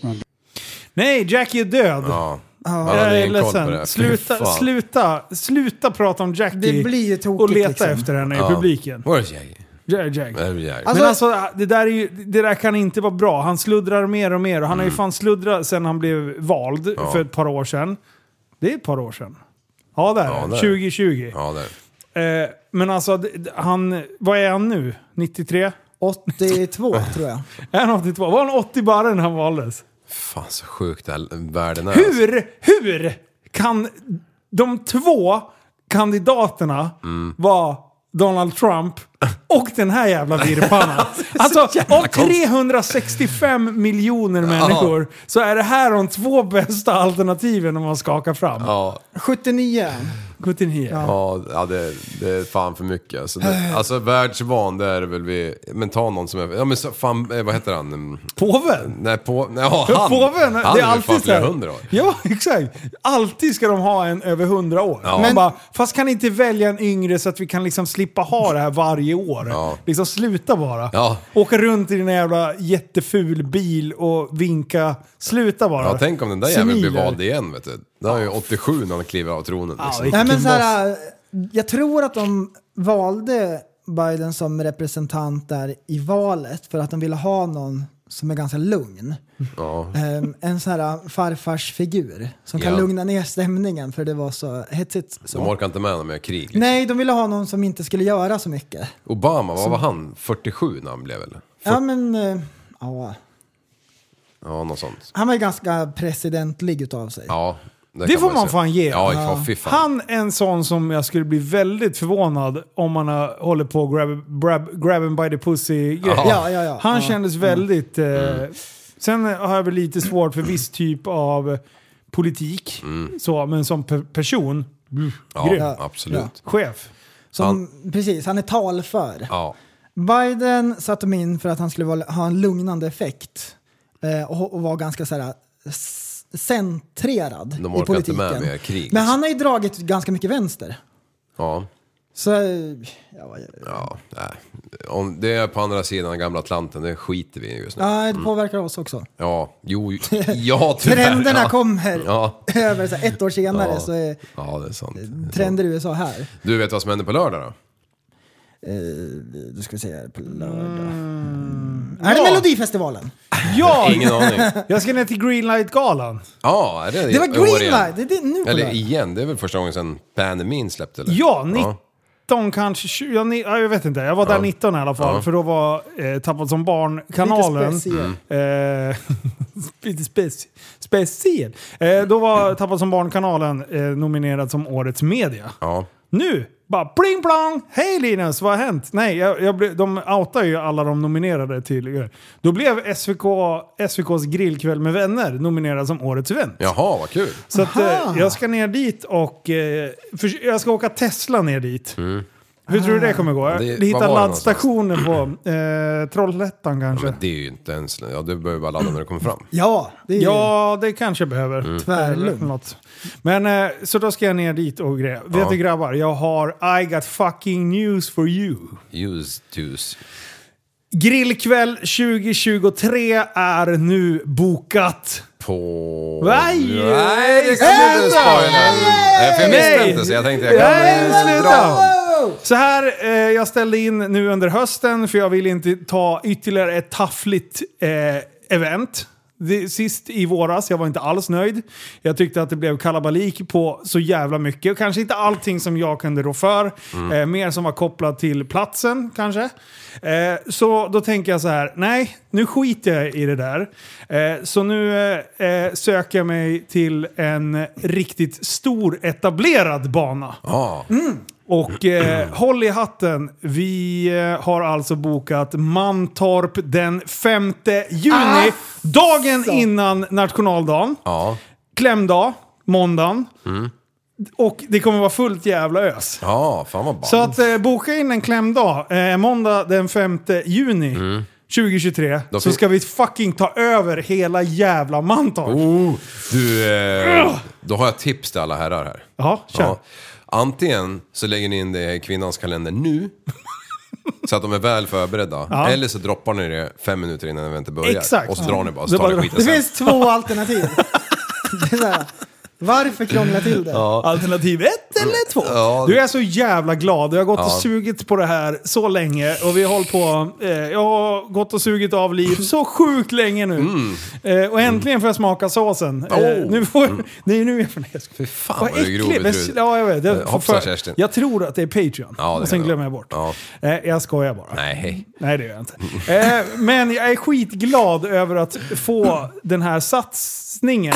Speaker 1: Nej, Jackie är död.
Speaker 3: Ja. Man hade
Speaker 1: Jag är
Speaker 3: ingen koll på det.
Speaker 1: ledsen.
Speaker 3: Fy
Speaker 1: Sluta,
Speaker 3: fan.
Speaker 1: sluta, sluta prata om Jackie
Speaker 2: Det blir ju tokigt,
Speaker 1: och leta
Speaker 2: liksom.
Speaker 1: efter henne i
Speaker 3: Ja.
Speaker 1: publiken.
Speaker 3: Where's Jackie?
Speaker 1: Ja, Jack.
Speaker 3: Where's Jackie?
Speaker 1: Men alltså, det där, är ju, det där kan inte vara bra. Han sluddrar mer och mer. Och han har
Speaker 3: Mm.
Speaker 1: ju fan sluddrat sen han blev vald för ett par år sedan. Det är ett par år sedan. Ja, där.
Speaker 3: Ja, där.
Speaker 1: 2020.
Speaker 3: Ja, där.
Speaker 1: Eh, men alltså, d- d- han, vad är han nu? 93?
Speaker 3: [LAUGHS]
Speaker 2: 82 tror jag.
Speaker 1: Är han 82? Var han 80 bara när han valdes?
Speaker 3: Fan så sjukt det här världen är. Alltså,
Speaker 1: Hur, hur kan de två kandidaterna
Speaker 3: Mm.
Speaker 1: vara Donald Trump och den här jävla
Speaker 3: [LAUGHS]
Speaker 1: virrpannan? Alltså, av 365 miljoner människor så är det här de två bästa alternativen om man skakar fram.
Speaker 3: Ja.
Speaker 2: 79 är han.
Speaker 1: 79.
Speaker 3: Ja, ja det, det är fan för mycket. Alltså, det,
Speaker 1: Äh.
Speaker 3: alltså världsvan, det är det väl vi... Men ta någon som är... Ja men så, fan, eh, vad heter han? Mm,
Speaker 1: Påven!
Speaker 3: Nej, på, nej, ja,
Speaker 1: Ja,
Speaker 3: han!
Speaker 1: Påven, det
Speaker 3: han
Speaker 1: är alltid så
Speaker 3: flera
Speaker 1: här.
Speaker 3: hundra år.
Speaker 1: Ja, [LAUGHS] exakt. Alltid ska de ha en över 100 år.
Speaker 3: Ja.
Speaker 1: Men
Speaker 3: Men-
Speaker 1: bara, fast kan ni inte välja en yngre så att vi kan liksom slippa ha det här varje år?
Speaker 3: Ja.
Speaker 1: Liksom sluta bara.
Speaker 3: Ja.
Speaker 1: Åka runt i din jävla jätteful bil och vinka. Sluta bara.
Speaker 3: Ja, tänk om den där jäveln blir
Speaker 1: Senil är
Speaker 3: vald
Speaker 1: det.
Speaker 3: igen vet du. Det är ju 87 när han kliver av tronen liksom.
Speaker 1: vilken
Speaker 2: Nej men så
Speaker 1: boss.
Speaker 2: här, jag tror att de valde Biden som representant där i valet för att de ville ha någon som är ganska lugn.
Speaker 3: Ja.
Speaker 2: Ehm, en sån här farfarsfigur som kan
Speaker 3: Ja.
Speaker 2: lugna ner stämningen för det var så hetsigt. Så.
Speaker 3: De orkar inte med honom mer krig. Liksom.
Speaker 2: Nej, de ville ha någon som inte skulle göra så mycket.
Speaker 3: Obama, vad var han? 47 när han blev eller?
Speaker 2: Ja men, eh, ja.
Speaker 3: Ja, något sånt.
Speaker 2: Han var ju ganska presidentlig utav sig.
Speaker 3: Ja,
Speaker 1: Det
Speaker 3: kan
Speaker 1: får man
Speaker 3: ju se.
Speaker 1: fan ge.
Speaker 3: Ja, ja. fy fan.
Speaker 1: Han är en sån som jag skulle bli väldigt förvånad om han har- håller på och grab, grab, grab him by the pussy grej.
Speaker 3: Ja.
Speaker 2: Ja, ja, ja.
Speaker 1: Han
Speaker 2: Ja. Mm.
Speaker 1: kändes väldigt... Eh, Sen har jag väl lite svårt för viss typ av politik. Så, men som pe- person,
Speaker 3: Mm. Ja,
Speaker 1: grym.
Speaker 3: absolut.
Speaker 1: chef.
Speaker 2: Som, Precis, han är talför.
Speaker 3: Ja.
Speaker 2: Biden satte mig in för att han skulle vara, ha en lugnande effekt eh, och, och vara ganska så här, s- centrerad
Speaker 3: De
Speaker 2: i
Speaker 3: orkar inte
Speaker 2: politiken.
Speaker 3: med mer krig. liksom.
Speaker 2: Men han har ju dragit ganska mycket vänster.
Speaker 3: Ja.
Speaker 2: Så, eh, ja, ja,
Speaker 3: Ja, nej. Om det är på andra sidan gamla Atlanten, det skiter vi i just nu. Ja,
Speaker 2: ja, det påverkar
Speaker 3: [LAUGHS]
Speaker 2: oss också.
Speaker 3: jo, ja tyvärr.
Speaker 2: Trenderna
Speaker 3: ja.
Speaker 2: kommer
Speaker 3: Ja.
Speaker 2: [LAUGHS] över så här, ett år senare
Speaker 3: Ja.
Speaker 2: så är
Speaker 3: Ja, det är sant.
Speaker 2: trender i USA här.
Speaker 3: Du vet vad som händer på lördag då?
Speaker 2: Då ska vi se här på lördag.
Speaker 3: Mm.
Speaker 2: Är det Melodifestivalen?
Speaker 1: Ja!
Speaker 3: Ingen aning.
Speaker 1: Jag ska ner till Greenlight-galan.
Speaker 3: Ja, är det
Speaker 2: Det var
Speaker 3: i år igen?
Speaker 2: Greenlight! Det är det nu på
Speaker 3: Eller
Speaker 2: lördag.
Speaker 3: igen, det är väl första gången sedan pandemin släppte? Eller?
Speaker 1: Ja, 19 kanske 20. Ja, ni, ja, jag vet inte. Jag var där
Speaker 3: Ja.
Speaker 1: 19 i alla fall.
Speaker 3: Ja.
Speaker 1: För då var eh, Tappad som barn-kanalen...
Speaker 2: Lite speciell.
Speaker 1: Eh, [LAUGHS] lite speci- speciell. Eh, då var Tappad som barn-kanalen eh, nominerad som årets media.
Speaker 3: Ja.
Speaker 1: Nu! Bara pling plong! Hej Linus, vad har hänt? Nej, jag, jag blev- de outar ju alla de nominerade till... Då blev SVK, SVKs grillkväll med vänner nominerad som årets event.
Speaker 3: Jaha, vad kul.
Speaker 1: Så att, eh, jag ska ner dit och... Eh, förs- jag ska åka Tesla ner dit. Hur tror du det kommer gå?
Speaker 3: Mm. Det-
Speaker 1: Det,
Speaker 3: var var
Speaker 1: Hitta
Speaker 3: det
Speaker 1: laddstationer på eh, Trollhättan kanske. Ja,
Speaker 3: Men det är ju inte ens... Ja, du behöver bara ladda när du kommer fram.
Speaker 2: Ja, det är ju
Speaker 1: det kanske jag behöver.
Speaker 3: Mm.
Speaker 2: tvärlugnt.
Speaker 1: Eller något. Men eh, så då ska jag ner dit och grejer. Vet du grabbar, jag har I got fucking news for you.
Speaker 3: Use tus.
Speaker 1: Grillkväll 2023 är nu bokat.
Speaker 3: På...
Speaker 1: Nej!
Speaker 3: Nej, det kan du inte spoila! Nej, för jag visste
Speaker 1: Nej.
Speaker 3: inte så jag tänkte jag kan...
Speaker 1: Nej, sluta!
Speaker 3: Bra.
Speaker 1: Så här, eh, jag ställde in nu under hösten för jag vill inte ta ytterligare ett taffligt eh, event. Det, sist i våras, jag var inte alls nöjd. Jag tyckte att det blev kalabalik på så jävla mycket. Och Kanske inte allting som jag kunde rå för. Eh, mer som var kopplat till platsen kanske. Eh, så då tänker jag så här, nej, nu skiter jag i det där. Eh, så nu eh, eh, söker jag mig till en riktigt stor etablerad bana.
Speaker 3: Ja,
Speaker 1: Och eh, håll i hatten, vi eh, har alltså bokat Mantorp den 5 juni.
Speaker 3: Ah,
Speaker 1: dagen innan nationaldagen.
Speaker 3: ja,
Speaker 1: Klämdag, måndagen. Och det kommer vara fullt jävla ös.
Speaker 3: ja, fan vad ballt.
Speaker 1: Så att eh, boka in en klämdag, eh, måndag den 5 juni. 2023
Speaker 3: Mm. Då
Speaker 1: så
Speaker 3: fin-
Speaker 1: ska vi fucking ta över hela jävla Mantorp.
Speaker 3: Oh, du, eh, då har jag tips till alla herrar här.
Speaker 1: Ja, kör.
Speaker 3: Ja. Antingen så lägger ni in det i kvinnans
Speaker 1: [LAUGHS]
Speaker 3: kalender nu. så att de är väl förberedda. Eller så droppar ni det fem minuter innan eventet börjar.
Speaker 1: Exakt.
Speaker 3: Och så drar ni bara,
Speaker 1: Det
Speaker 3: så tar
Speaker 1: bara-
Speaker 3: ni
Speaker 2: Det
Speaker 3: skiten sen. [LAUGHS]
Speaker 2: finns två alternativ. Det är så här, varför krångla till det?
Speaker 1: Alternativ ett eller två. Du jag är så jävla glad. Jag har gått och sugit på det här så länge. Och vi har hållit på. Eh, jag har gått och sugit av liv så sjukt länge nu. Eh, och äntligen får jag smaka såsen. Eh,
Speaker 3: Mm. Oh.
Speaker 1: nu får jag, [LAUGHS] nej, nu är jag för det.
Speaker 3: Fy fan vad, du är grov i
Speaker 1: Men-
Speaker 3: huvudet.
Speaker 1: Ja, jag vet. Jag,
Speaker 3: Eh,
Speaker 1: får
Speaker 3: hoppsan,
Speaker 1: för-
Speaker 3: Kerstin.
Speaker 1: jag tror att det är Patreon.
Speaker 3: Ja, det
Speaker 1: och sen
Speaker 3: är det.
Speaker 1: glömmer jag bort.
Speaker 3: Ja.
Speaker 1: Eh, jag skojar bara.
Speaker 3: Nej.
Speaker 1: Nej, det gör jag inte. Eh, men jag är skitglad över att få den här
Speaker 3: [LAUGHS]
Speaker 1: satsningen.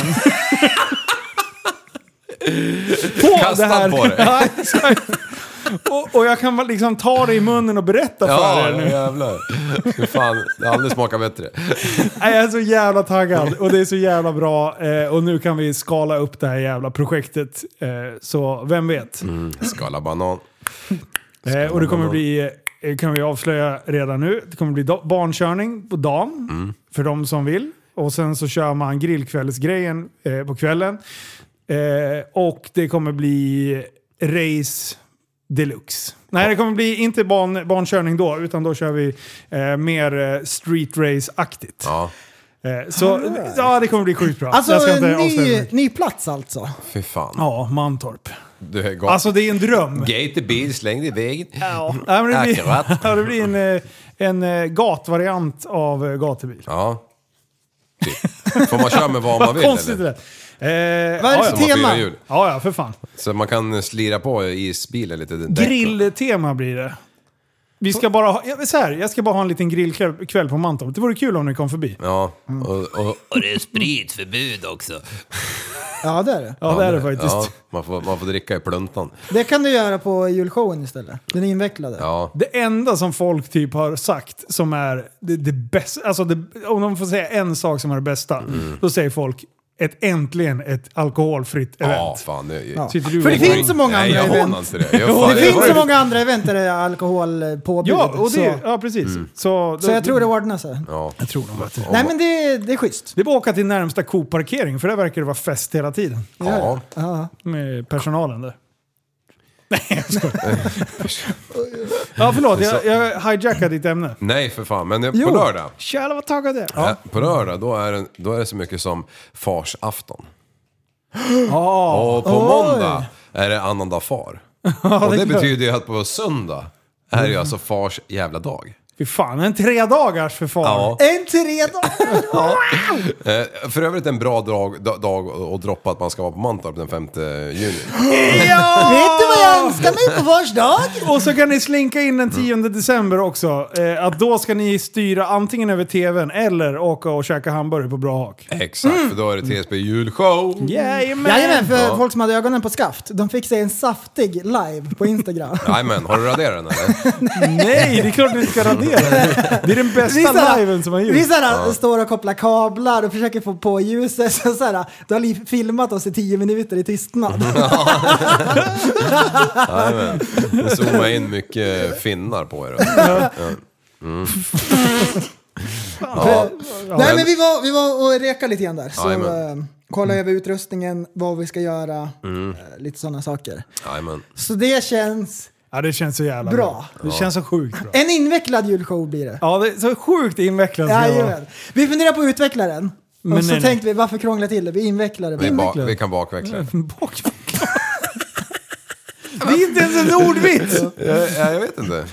Speaker 1: på
Speaker 3: Kastad på dig.
Speaker 1: [LAUGHS] Ja, exakt. Och, och jag kan väl liksom ta det i munnen och berätta för
Speaker 3: Ja,
Speaker 1: er nu.
Speaker 3: jävlar. Fy fan, det har aldrig smakat bättre.
Speaker 1: Nej, jag är så jävla taggad och det är så jävla bra. Eh, och nu kan vi skala upp det här jävla projektet. Eh, så vem vet?
Speaker 3: Skala banan.
Speaker 1: Eh, och det kommer bli, eh, kan vi avslöja redan nu, det kommer bli da- barnkörning på dagen för de som vill. Och sen så kör man grillkvällsgrejen eh, på kvällen. Eh, och det kommer bli race deluxe. Nej, det kommer bli inte barn, barnkörning då, utan då kör vi eh, mer eh, street race-aktigt.
Speaker 3: Ja,
Speaker 1: Eh, Så ja, det kommer bli sjukt bra.
Speaker 2: Alltså
Speaker 1: jag ska inte avslöja
Speaker 2: ny,
Speaker 1: mer.
Speaker 2: ny plats alltså.
Speaker 3: fy fan.
Speaker 1: Ja, Mantorp.
Speaker 3: Du är gott.
Speaker 1: Alltså det är en dröm.
Speaker 3: Gate i bil, släng dig i vägen.
Speaker 1: Ja, Nej, men det blir,
Speaker 3: Akkurat.
Speaker 1: [LAUGHS] ja, det blir en, eh, en eh, gatvariant av eh, gatubil.
Speaker 3: Ja. Typ. Får man köra med vad man
Speaker 1: Vad
Speaker 3: vill
Speaker 1: konstigt det
Speaker 3: eller?
Speaker 1: där. Eh,
Speaker 2: Vad är det
Speaker 1: ja,
Speaker 2: för
Speaker 1: ja.
Speaker 3: Som har
Speaker 2: Tema.
Speaker 3: fyra hjul.
Speaker 1: ja, ja, för fan.
Speaker 3: Så man kan slira på isbilen lite. däck.
Speaker 1: Grilltema blir det. Vi ska bara ha, ja, så här, jag ska bara ha en liten grillkväll kväll på Mantorp. Det vore kul om ni kom förbi.
Speaker 3: Ja, och, och,
Speaker 5: det är spritförbud också.
Speaker 2: Ja det är det.
Speaker 1: Ja, det är det faktiskt.
Speaker 3: Ja, man, får, man får dricka i pluntan.
Speaker 2: Det kan du göra på julshowen istället. Den invecklade.
Speaker 3: Ja,
Speaker 1: Det enda som folk typ har sagt som är det, det bästa, alltså det, om de får säga en sak som är det bästa,
Speaker 3: Mm.
Speaker 1: då säger folk ett, äntligen ett alkoholfritt
Speaker 3: ja
Speaker 1: event.
Speaker 3: fan. Det,
Speaker 1: Sitter du
Speaker 2: För det
Speaker 1: och-
Speaker 2: finns så många
Speaker 3: Nej,
Speaker 2: andra
Speaker 3: jag
Speaker 2: event.
Speaker 3: hånar inte det. Jag, fan,
Speaker 2: Det
Speaker 3: jag,
Speaker 2: finns
Speaker 3: var-
Speaker 2: så måga andra event där det är alkohol påbjud.
Speaker 1: Ja, och det,
Speaker 2: så,
Speaker 1: ja precis.
Speaker 3: Mm.
Speaker 1: Så,
Speaker 2: så jag tror det ordnar sig.
Speaker 3: Ja.
Speaker 1: jag tror de vet det.
Speaker 2: Nej men det, det är schysst.
Speaker 1: Det är bara att åka till närmsta Coop-parkering, för där verkar det vara fest hela tiden.
Speaker 3: Ja,
Speaker 1: Med personalen där. Nej, jag skojar. ja, förlåt. Jag, jag hijackade ditt ämne.
Speaker 3: nej för fan. Men på lördag.
Speaker 1: Tjära vad taggad jag är.
Speaker 3: Ja. Eh, På lördag då är, det, då är det så mycket som [GASPS] farsafton. Och på måndag är det annandag [LAUGHS] far. och det,
Speaker 1: är klart.
Speaker 3: betyder ju att på söndag är det ju alltså fars jävla dag.
Speaker 1: Fy fan, en tredagars för fan.
Speaker 3: Ja.
Speaker 2: En tre dagar!
Speaker 3: Eh, För övrigt en bra dag, da- dag att droppa att man ska vara på Mantorp den 5 [GASPS] juni.
Speaker 2: [LAUGHS] Vet du vad jag önskar mig på vars dag?
Speaker 1: Och så kan ni slinka in den 10 december också. Eh, att då ska ni styra antingen över tvn eller åka och käka hamburgare på Bra Hak.
Speaker 3: Exakt, för då är det TSB julshow.
Speaker 2: Jajamän, för folk som hade ögonen på skaft, de fick sig en saftig live på Instagram.
Speaker 3: Jajamän, har du raderat den [LAUGHS] eller?
Speaker 1: Nej, det är klart ni inte ska radera det. Det är den
Speaker 2: Vi
Speaker 1: bästa
Speaker 2: såhär-
Speaker 1: liven som har
Speaker 2: Vi
Speaker 1: gjorts.
Speaker 2: såhär, står och kopplar kablar och försöker få på ljuset. [LAUGHS] Så såhär, du har li- filmat oss i tio minuter i tystnad.
Speaker 3: Jajamän. Nu zoomar jag in mycket finnar på [LAUGHS] er. Ja. Mm. Ja.
Speaker 2: [LAUGHS] Nej men vi var, vi var och rekade lite grann där. Så
Speaker 3: Jajamän.
Speaker 2: eh, kolla över utrustningen, vad vi ska göra, eh, lite sådana saker.
Speaker 3: Jajamän.
Speaker 2: Så det känns...
Speaker 1: Ja, det känns så jävla
Speaker 2: Bra.
Speaker 1: bra. Det känns så sjukt
Speaker 2: [LAUGHS]
Speaker 1: bra.
Speaker 2: En invecklad julshow blir det.
Speaker 1: Ja, det är så sjukt invecklat. ska det vara.
Speaker 2: Jajamän. Vi funderar på att utveckla den.
Speaker 1: Men
Speaker 2: och så
Speaker 1: nej,
Speaker 2: tänkte vi, varför krångla till det? Vi invecklar det.
Speaker 3: Vi,
Speaker 2: bara.
Speaker 3: bak, vi kan bakveckla det.
Speaker 1: [LAUGHS] Det är inte ens en ordvits!
Speaker 3: Jag, Eh, jag jag vet inte.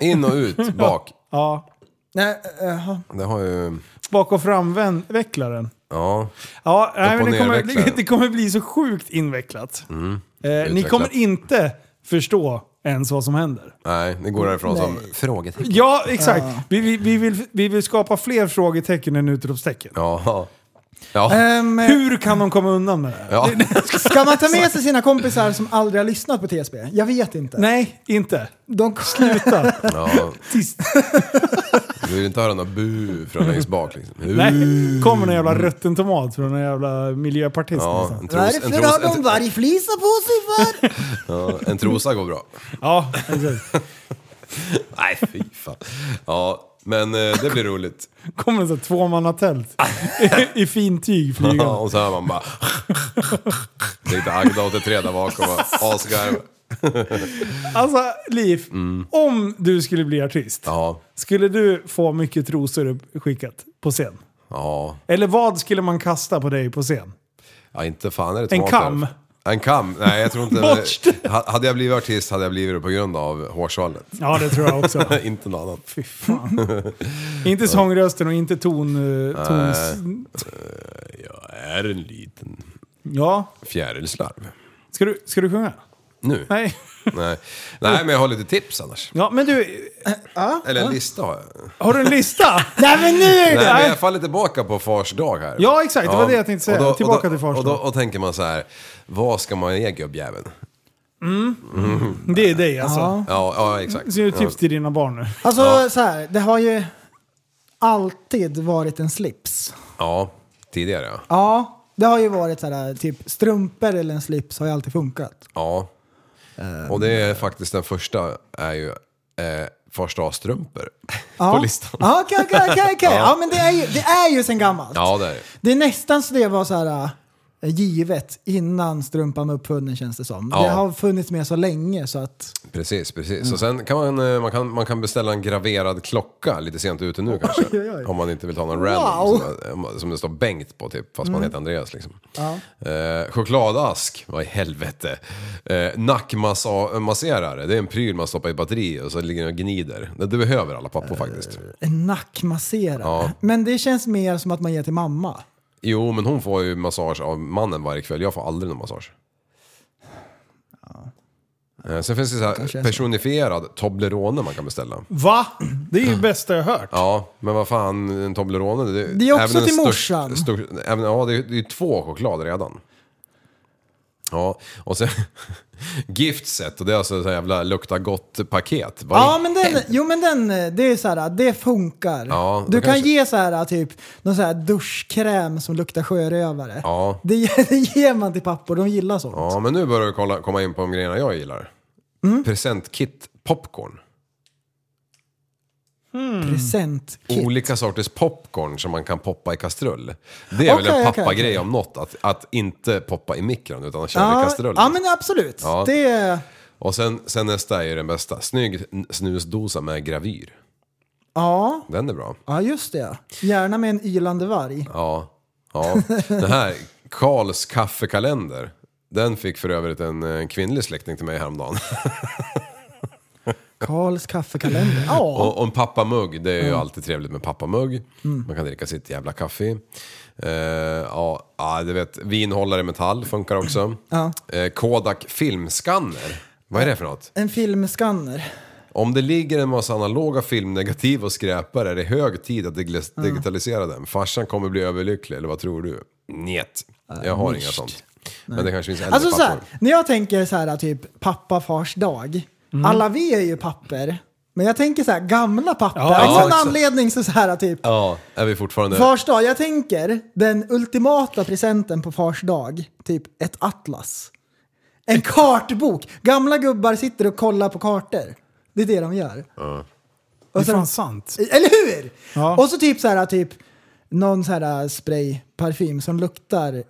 Speaker 3: In och ut, bak.
Speaker 1: Ja,
Speaker 2: Nej, eh, jaha.
Speaker 3: Det har ju...
Speaker 1: bak och framvecklaren.
Speaker 3: Ja.
Speaker 1: Ja, nej,
Speaker 3: Upp och
Speaker 1: men det, kommer,
Speaker 3: nervecklaren.
Speaker 1: det, det kommer bli så sjukt invecklat. Eh, ni
Speaker 3: Utvecklat.
Speaker 1: kommer inte förstå ens vad som händer.
Speaker 3: Nej, det går därifrån som frågetecken.
Speaker 1: Ja, exakt. Vi, vi, vi, vill, vi vill skapa fler frågetecken än utropstecken.
Speaker 3: Ja.
Speaker 1: Eh.
Speaker 3: Ja.
Speaker 2: Ehm,
Speaker 1: Hur kan de komma undan med det här?
Speaker 3: ja.
Speaker 2: ska man ta med sig sina kompisar som aldrig har lyssnat på TSB? Jag vet inte.
Speaker 1: Nej, inte.
Speaker 2: De
Speaker 1: Sluta.
Speaker 3: ja.
Speaker 1: Tyst.
Speaker 3: Du vill inte höra något bu från längst bak liksom. Bu.
Speaker 1: Nej, kommer någon jävla rutten tomat från en jävla miljöpartist
Speaker 3: Ja,
Speaker 1: någonstans.
Speaker 3: en, tros, en,
Speaker 2: Varför har
Speaker 3: tros,
Speaker 2: de
Speaker 3: en,
Speaker 2: vargflisa på sig för?
Speaker 3: ja, en trosa går bra.
Speaker 1: Ja, exakt.
Speaker 3: Nej, fy fan. Ja, men eh, det blir roligt.
Speaker 1: Kommer en sån här tvåmannatält i, i fint tyg flygande.
Speaker 3: Ja, och så hör man bara... [LAUGHS] Lite Agda 83 där bakom och asgarv.
Speaker 1: Alltså, Liv.
Speaker 2: Mm.
Speaker 1: Om du skulle bli artist,
Speaker 3: Ja,
Speaker 1: skulle du få mycket trosor uppskickat på scen?
Speaker 3: ja.
Speaker 1: Eller vad skulle man kasta på dig på scen?
Speaker 3: Ja, inte fan är det
Speaker 1: En
Speaker 3: tomater.
Speaker 1: kam.
Speaker 3: En kam? Nej, jag tror inte...
Speaker 1: [LAUGHS] Borst.
Speaker 3: Ha- Hade jag blivit artist hade jag blivit det på grund av hårsvallet.
Speaker 1: Ja, det tror jag
Speaker 2: [LAUGHS]
Speaker 1: också.
Speaker 3: [LAUGHS] inte något annat.
Speaker 1: Fy fan. inte sångrösten och inte ton... eh, tons...
Speaker 3: Jag är en liten
Speaker 1: Ja.
Speaker 3: fjärilslarv.
Speaker 1: Ska du, ska du sjunga?
Speaker 3: Nu?
Speaker 1: Nej.
Speaker 3: Nej. Nej, men jag har lite tips annars.
Speaker 1: Ja, men du.
Speaker 3: Eller en lista har jag.
Speaker 1: Har du en lista?
Speaker 2: [LAUGHS] Nej men nu är det!
Speaker 3: Nej, men jag faller tillbaka på fars dag här.
Speaker 1: Ja, exakt. Det var det jag tänkte säga.
Speaker 3: och
Speaker 1: Tillbaka
Speaker 3: och då,
Speaker 1: till fars
Speaker 3: och då,
Speaker 1: dag.
Speaker 3: och tänker man så här, vad ska man ge gubbjäveln?
Speaker 1: Det är dig alltså.
Speaker 2: Ja.
Speaker 3: Ja, ja exakt.
Speaker 1: Så jag tips till dina barn nu.
Speaker 2: [LAUGHS] Alltså
Speaker 3: Ja.
Speaker 2: så här, det har ju alltid varit en slips.
Speaker 3: Ja, tidigare ja.
Speaker 2: Ja, det har ju varit så här, typ strumpor eller en slips har ju alltid funkat.
Speaker 3: Ja. Och det är faktiskt den första är ju eh, första-strumpor
Speaker 2: Ja.
Speaker 3: på listan.
Speaker 2: Ja, okej, okej, okej,
Speaker 3: [LAUGHS]
Speaker 2: okej. Ja, men det är ju, det är ju sen gammalt.
Speaker 3: Ja, det är det.
Speaker 2: Det är nästan så det var så här äh, givet innan strumpan var uppfunnen känns det som.
Speaker 3: Ja.
Speaker 2: Det har funnits med så länge så att...
Speaker 3: Precis, precis. Så
Speaker 2: Mm.
Speaker 3: sen kan man, eh, man, kan, man kan beställa en graverad klocka lite sent ute nu kanske. Om man inte vill ta någon random
Speaker 2: Wow. Mm.
Speaker 3: som, eh, som det står Bengt på typ, fast man heter Andreas liksom. Eh, chokladask, vad i helvete. Eh, Nackmasserare, det är en pryl man stoppar i batteri och så ligger den och gnider. Det, det behöver alla
Speaker 2: Eh.
Speaker 3: pappor faktiskt.
Speaker 2: En nackmasserare. Men det känns mer som att man ger till mamma.
Speaker 3: Jo, men hon får ju massage av mannen varje kväll. Jag får aldrig någon massage. Eh, Sen finns det så
Speaker 2: Kanske
Speaker 3: här
Speaker 2: är så.
Speaker 3: personifierad Toblerone man kan beställa.
Speaker 1: Va? Det är ju det bästa jag hört.
Speaker 3: Ja, men vad fan, en Toblerone. Det,
Speaker 2: Det är också
Speaker 3: även den
Speaker 2: till
Speaker 3: störst-
Speaker 2: morsan.
Speaker 3: stör- även, ja, det är, det är två choklad redan. Ja, och sen [LAUGHS] Giftset, och det är alltså så här jävla lukta gott-paket. Vad
Speaker 2: Ja,
Speaker 3: i-
Speaker 2: men den, jo men den, eh, det är så här, det funkar.
Speaker 3: Ja,
Speaker 2: du
Speaker 3: då
Speaker 2: kan
Speaker 3: kanske-
Speaker 2: ge så här typ någon så här duschkräm som luktar sjörövare.
Speaker 3: Ja.
Speaker 2: Det, ge- [LAUGHS] det ger man till pappor, de gillar sånt.
Speaker 3: ja, men nu börjar du kolla, komma in på de grejerna jag gillar.
Speaker 2: Mm.
Speaker 3: Presentkit popcorn. Mm.
Speaker 2: Presentkit.
Speaker 3: Olika sorters popcorn som man kan poppa i kastrull. Det är väl
Speaker 2: Okej,
Speaker 3: en
Speaker 2: okej,
Speaker 3: pappagrej
Speaker 2: okej.
Speaker 3: om något, att, att inte poppa i mikron utan att köra i
Speaker 2: Ja,
Speaker 3: kastrull.
Speaker 2: ja, men absolut.
Speaker 3: Ja.
Speaker 2: Det är...
Speaker 3: Och sen, sen nästa är ju den bästa. Snygg snusdosa med gravyr.
Speaker 2: Ja.
Speaker 3: Den är bra.
Speaker 2: Ja, just det. Gärna med en ylande varg.
Speaker 3: Ja. ja. Den här, Karls kaffekalender. Den fick för övrigt en, eh, kvinnlig släkting till mig häromdagen.
Speaker 2: Karls kaffekalender.
Speaker 3: [LAUGHS]
Speaker 2: Ja.
Speaker 3: Och, och en pappamugg, det är ju alltid trevligt med pappamugg. Man kan dricka sitt jävla kaffe i. Eh, ja, ja, du vet, vinhållare i metall funkar också. Eh, Kodak filmskanner. Vad är det för något?
Speaker 2: En filmskanner.
Speaker 3: Om det ligger en massa analoga filmnegativ och skräpar är det hög tid att digles- digitalisera dem. Farsan kommer bli överlycklig, eller vad tror du? Njet.
Speaker 1: Äh,
Speaker 3: Jag har inga sånt. Men det kanske finns äldre
Speaker 2: Alltså så här,
Speaker 3: pappor.
Speaker 2: när jag tänker så här typ pappa fars dag. Alla vi är ju papper. Men jag tänker så här gamla papper.
Speaker 1: Ja,
Speaker 2: Av
Speaker 3: ja,
Speaker 2: någon
Speaker 3: exakt.
Speaker 2: anledning så, så här typ.
Speaker 3: Ja, är vi fortfarande...
Speaker 2: Fars dag, jag tänker den ultimata presenten på fars dag. Typ ett atlas. En kartbok. Gamla gubbar sitter och kollar på kartor. Det är det de gör.
Speaker 1: Det är
Speaker 2: Och sen-
Speaker 1: fan sant.
Speaker 2: Eller hur?
Speaker 1: Ja.
Speaker 2: Och så typ så här, typ någon så här spray, parfym som luktar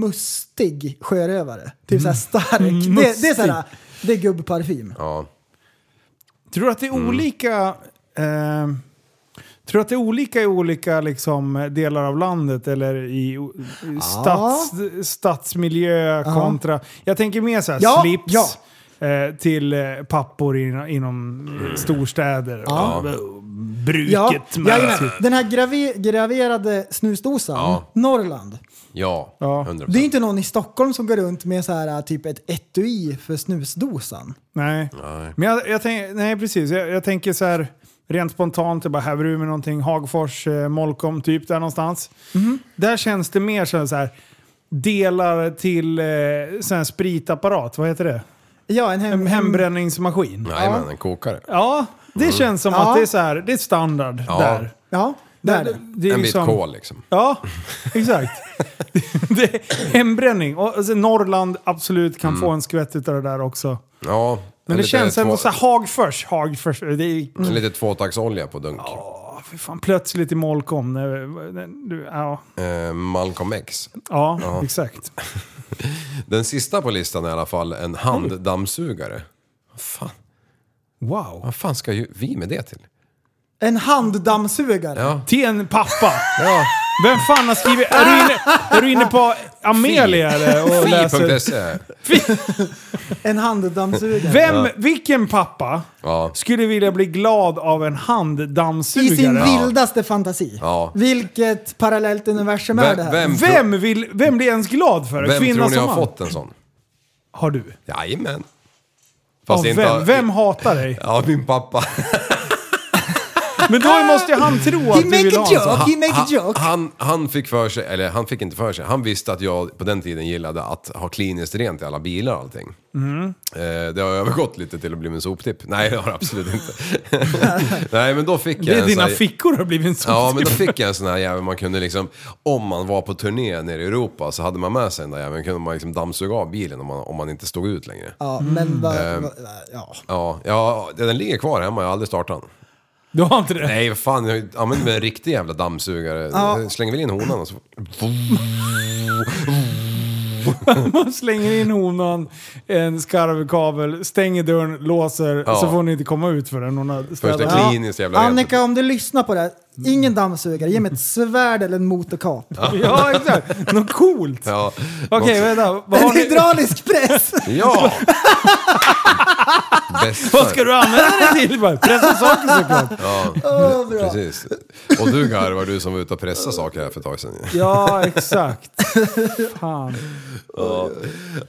Speaker 2: mustig sjörövare. Typ så här stark. det, det är så här, det är gubbparfym.
Speaker 3: Ja.
Speaker 1: Tror du att det är
Speaker 2: Mm.
Speaker 1: olika... Eh, tror du att det är olika i olika liksom, delar av landet eller i o- stads, stadsmiljö kontra... Jag tänker mer så här,
Speaker 2: Ja,
Speaker 1: slips.
Speaker 2: ja.
Speaker 1: eh, Till eh, pappor in, inom eh, storstäder.
Speaker 2: Mm. Ja.
Speaker 1: Och, bruket.
Speaker 2: Ja,
Speaker 1: med-
Speaker 2: jajamän. den här grave, graverade snusdosan,
Speaker 3: Ja.
Speaker 2: Norrland.
Speaker 3: Ja,
Speaker 1: Ja.
Speaker 3: 100%.
Speaker 2: Det är inte någon i Stockholm som går runt med så här typ ett etui för snusdosan.
Speaker 1: Nej.
Speaker 3: Nej.
Speaker 1: Men jag, jag tänk, nej, precis. Jag, jag tänker så här rent spontant, jag bara häver ur med någonting. Hagfors, eh, Molkom, typ där någonstans. Där känns det mer som så här delar till eh, sån här spritapparat, vad heter det?
Speaker 2: Ja, en, hem,
Speaker 1: En hembränningsmaskin.
Speaker 3: Nej, men en kokare.
Speaker 1: Ja, det känns som
Speaker 2: Ja.
Speaker 1: att det är så här, det är standard
Speaker 3: Ja.
Speaker 1: där.
Speaker 2: Ja, det är det.
Speaker 1: det är
Speaker 3: en
Speaker 1: liksom-
Speaker 3: bit kol liksom.
Speaker 1: Ja, exakt. [LAUGHS] det är hembränning. Och, alltså, Norrland absolut
Speaker 3: Mm.
Speaker 1: kan få en skvätt utav det där också.
Speaker 3: Ja.
Speaker 1: Men
Speaker 3: en
Speaker 1: det
Speaker 3: lite
Speaker 1: känns ändå
Speaker 3: två-
Speaker 1: såhär Hagfors, Hagfors. Det är
Speaker 3: en Lite tvåtaktsolja på dunk.
Speaker 1: Ja, fy fan, plötsligt i Molkom. när- när- du- Ja,
Speaker 3: Eh, Malcolm X.
Speaker 1: ja, exakt.
Speaker 3: Den sista på listan är i alla fall en handdammsugare. Vad fan,
Speaker 1: Wow.
Speaker 3: vad fan ska ju vi med det till?
Speaker 2: En handdammsugare.
Speaker 3: Ja.
Speaker 1: Till en pappa.
Speaker 3: Ja,
Speaker 1: Vem fan har skrivit... Är du inne, är du inne på Amelia eller? Och [LAUGHS] läser?
Speaker 3: fi.se.
Speaker 2: En handdammsugare.
Speaker 1: Vem, vilken pappa
Speaker 3: Ja.
Speaker 1: skulle vilja bli glad av en
Speaker 2: I sin
Speaker 1: handdammsugare?
Speaker 2: vildaste fantasi.
Speaker 3: Ja.
Speaker 2: Vilket parallellt universum är
Speaker 3: Vem,
Speaker 2: det här?
Speaker 3: vem, tro-
Speaker 1: Vem, vill, vem blir ens glad för?
Speaker 3: vem
Speaker 1: Kvinna
Speaker 3: tror ni
Speaker 1: som
Speaker 3: har
Speaker 1: man?
Speaker 3: fått en sån?
Speaker 1: Har du?
Speaker 3: Jajamän.
Speaker 1: Av
Speaker 3: inte
Speaker 1: vem? Vem hatar dig? [LAUGHS]
Speaker 3: Ja, min pappa.
Speaker 1: Men då måste ju han tro
Speaker 2: He
Speaker 1: att du
Speaker 2: make
Speaker 1: vill
Speaker 2: a
Speaker 1: ha en sån.
Speaker 2: joke, he
Speaker 3: Han,
Speaker 2: make a
Speaker 3: han,
Speaker 2: joke.
Speaker 3: han, han fick för sig, eller han fick inte för sig, han visste att jag på den tiden gillade att ha kliniskt rent i alla bilar och allting.
Speaker 1: Mm.
Speaker 3: Eh, det har övergått lite till att bli min soptipp. Nej, det har det absolut
Speaker 1: [LAUGHS]
Speaker 3: inte. [LAUGHS] Nej, men då fick jag
Speaker 1: Det är
Speaker 3: en
Speaker 1: dina
Speaker 3: sån här-
Speaker 1: fickor har blivit en sån
Speaker 3: Ja, men då
Speaker 1: typ.
Speaker 3: fick jag en sån här jävel man kunde liksom, om man var på turné nere i Europa så hade man med sig den där jäveln, kunde man liksom dammsuga av bilen om man, om man inte stod ut längre.
Speaker 2: Ja,
Speaker 1: Mm.
Speaker 2: men
Speaker 1: Ehm.
Speaker 2: vad... vad- Ja.
Speaker 3: Ja, ja, den ligger kvar hemma, jag har aldrig startat den.
Speaker 1: Du har inte det?
Speaker 3: Nej, vad fan, jag använder mig en riktig jävla dammsugare. Jag slänger väl in honan och så...
Speaker 1: Man slänger in honan, en skarvkabel, stänger dörren, låser,
Speaker 3: Ja.
Speaker 1: så får hon inte komma ut förrän hon har
Speaker 3: Första
Speaker 1: städat.
Speaker 3: kliniskt jävla rent.
Speaker 2: Annika, om du lyssnar på det här, ingen dammsugare, ge mig ett svärd eller en motorkap.
Speaker 1: Mm. Ja, exakt. Något
Speaker 3: [LAUGHS]
Speaker 1: coolt.
Speaker 3: Ja.
Speaker 1: Okej, vänta. Vad,
Speaker 2: En
Speaker 1: har ni,
Speaker 2: [LAUGHS] hydraulisk press!
Speaker 3: Ja! Bästa.
Speaker 1: vad ska du använda den till? Bara Pressa saker såklart.
Speaker 3: Ja,
Speaker 2: Åh, bra.
Speaker 3: precis. Och du garvar, du som var ute och pressade saker här för ett tag sedan.
Speaker 1: Ja, exakt. [LAUGHS] Fan.
Speaker 3: Ja,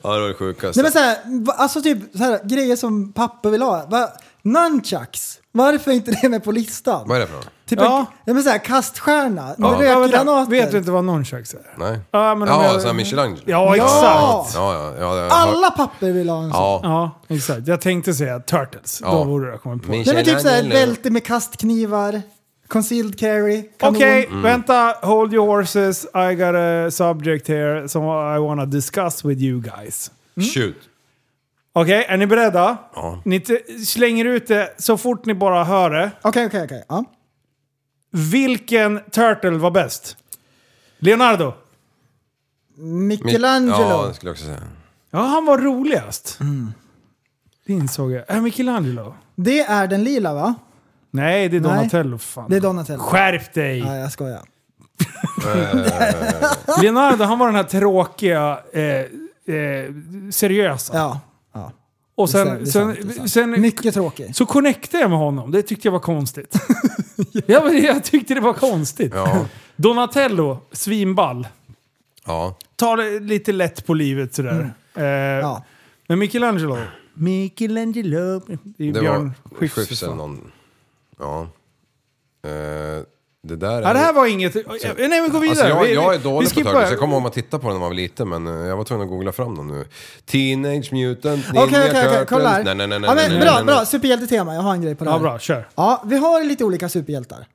Speaker 3: det var det sjukaste.
Speaker 2: Nej men såhär, alltså typ så här, grejer som pappa vill ha. Va? Nunchucks, varför är inte det med på listan?
Speaker 3: Vad är det för något?
Speaker 2: Typ
Speaker 1: Ja.
Speaker 2: ja. en, men så här, kaststjärna,
Speaker 3: Ja,
Speaker 1: Ja,
Speaker 2: rökgranater.
Speaker 1: vet du inte vad nunchucks är?
Speaker 3: Nej?
Speaker 1: Ja, men om
Speaker 3: ja,
Speaker 1: jag-
Speaker 3: jag... så här Michelangelo?
Speaker 1: Ja, exakt.
Speaker 3: Ja, ja, ja, jag har-
Speaker 2: Alla papper vill ha en sån.
Speaker 3: Ja.
Speaker 1: Ja, exakt. Jag tänkte säga turtles.
Speaker 3: Ja.
Speaker 1: Då borde jag kommit på.
Speaker 3: Min
Speaker 2: Nej men typ såhär,
Speaker 3: Michelangelo.
Speaker 2: bälte med kastknivar, concealed carry, kanon.
Speaker 1: Okej,
Speaker 3: Mm.
Speaker 1: vänta. Hold your horses. I got a subject here som I wanna discuss with you guys.
Speaker 3: Shoot.
Speaker 1: Okej, är ni beredda?
Speaker 3: Ja.
Speaker 1: Ni t- slänger ut det så fort ni bara hör det.
Speaker 2: Okej, okej, okej. Ja.
Speaker 1: Vilken turtle var bäst? Leonardo?
Speaker 2: Michelangelo.
Speaker 3: Ja, det skulle jag också säga.
Speaker 1: Ja, han var roligast.
Speaker 2: Mm.
Speaker 1: Det insåg jag. Äh, Michelangelo?
Speaker 2: Det är den lila va?
Speaker 1: Nej, det är
Speaker 2: Nej.
Speaker 1: Donatello. Fan.
Speaker 2: Det är Donatello.
Speaker 1: Skärp dig!
Speaker 2: Nej, jag skojar.
Speaker 1: [LAUGHS] Leonardo, han var den här tråkiga, eh, eh, seriösa.
Speaker 2: Ja. ja.
Speaker 1: Och
Speaker 2: det är
Speaker 1: sen,
Speaker 2: sant, det är
Speaker 1: sen,
Speaker 2: sant.
Speaker 1: sen
Speaker 2: Mycket tråkig.
Speaker 1: så connectade jag med honom. Det tyckte jag var
Speaker 2: [LAUGHS]
Speaker 1: konstigt. ja, men jag tyckte det var konstigt.
Speaker 3: Ja.
Speaker 1: Donatello, svinball.
Speaker 3: Ja.
Speaker 1: Tar det lite lätt på livet sådär. Eh,
Speaker 2: Mm. Ja.
Speaker 1: Men Michelangelo. Michelangelo. Det är ju
Speaker 3: Det
Speaker 1: Björn
Speaker 3: var
Speaker 1: Skifs.
Speaker 3: Skifs eller någon. Ja. Eh, det där är...
Speaker 1: Ja, det här var inget... Eh, Nej, men gå vidare.
Speaker 3: Alltså jag,
Speaker 1: Vi-
Speaker 3: jag är
Speaker 1: vi-
Speaker 3: dålig
Speaker 1: vi
Speaker 3: på
Speaker 1: skippar.
Speaker 3: turtles. Jag kommer ihåg att titta på den när man var liten men eh, jag var tvungen att googla fram dem nu. Teenage Mutant Ninja
Speaker 2: Okej, okej, okej.
Speaker 3: Turtles.
Speaker 2: Kolla här.
Speaker 3: Nej, nej, nej, nej,
Speaker 2: ja,
Speaker 3: nej,
Speaker 2: men,
Speaker 3: nej,
Speaker 2: bra,
Speaker 3: nej.
Speaker 2: bra. Superhjältetema. Jag har en grej på det
Speaker 1: Ja,
Speaker 2: här.
Speaker 1: bra. Kör.
Speaker 2: Ja, vi har lite olika superhjältar.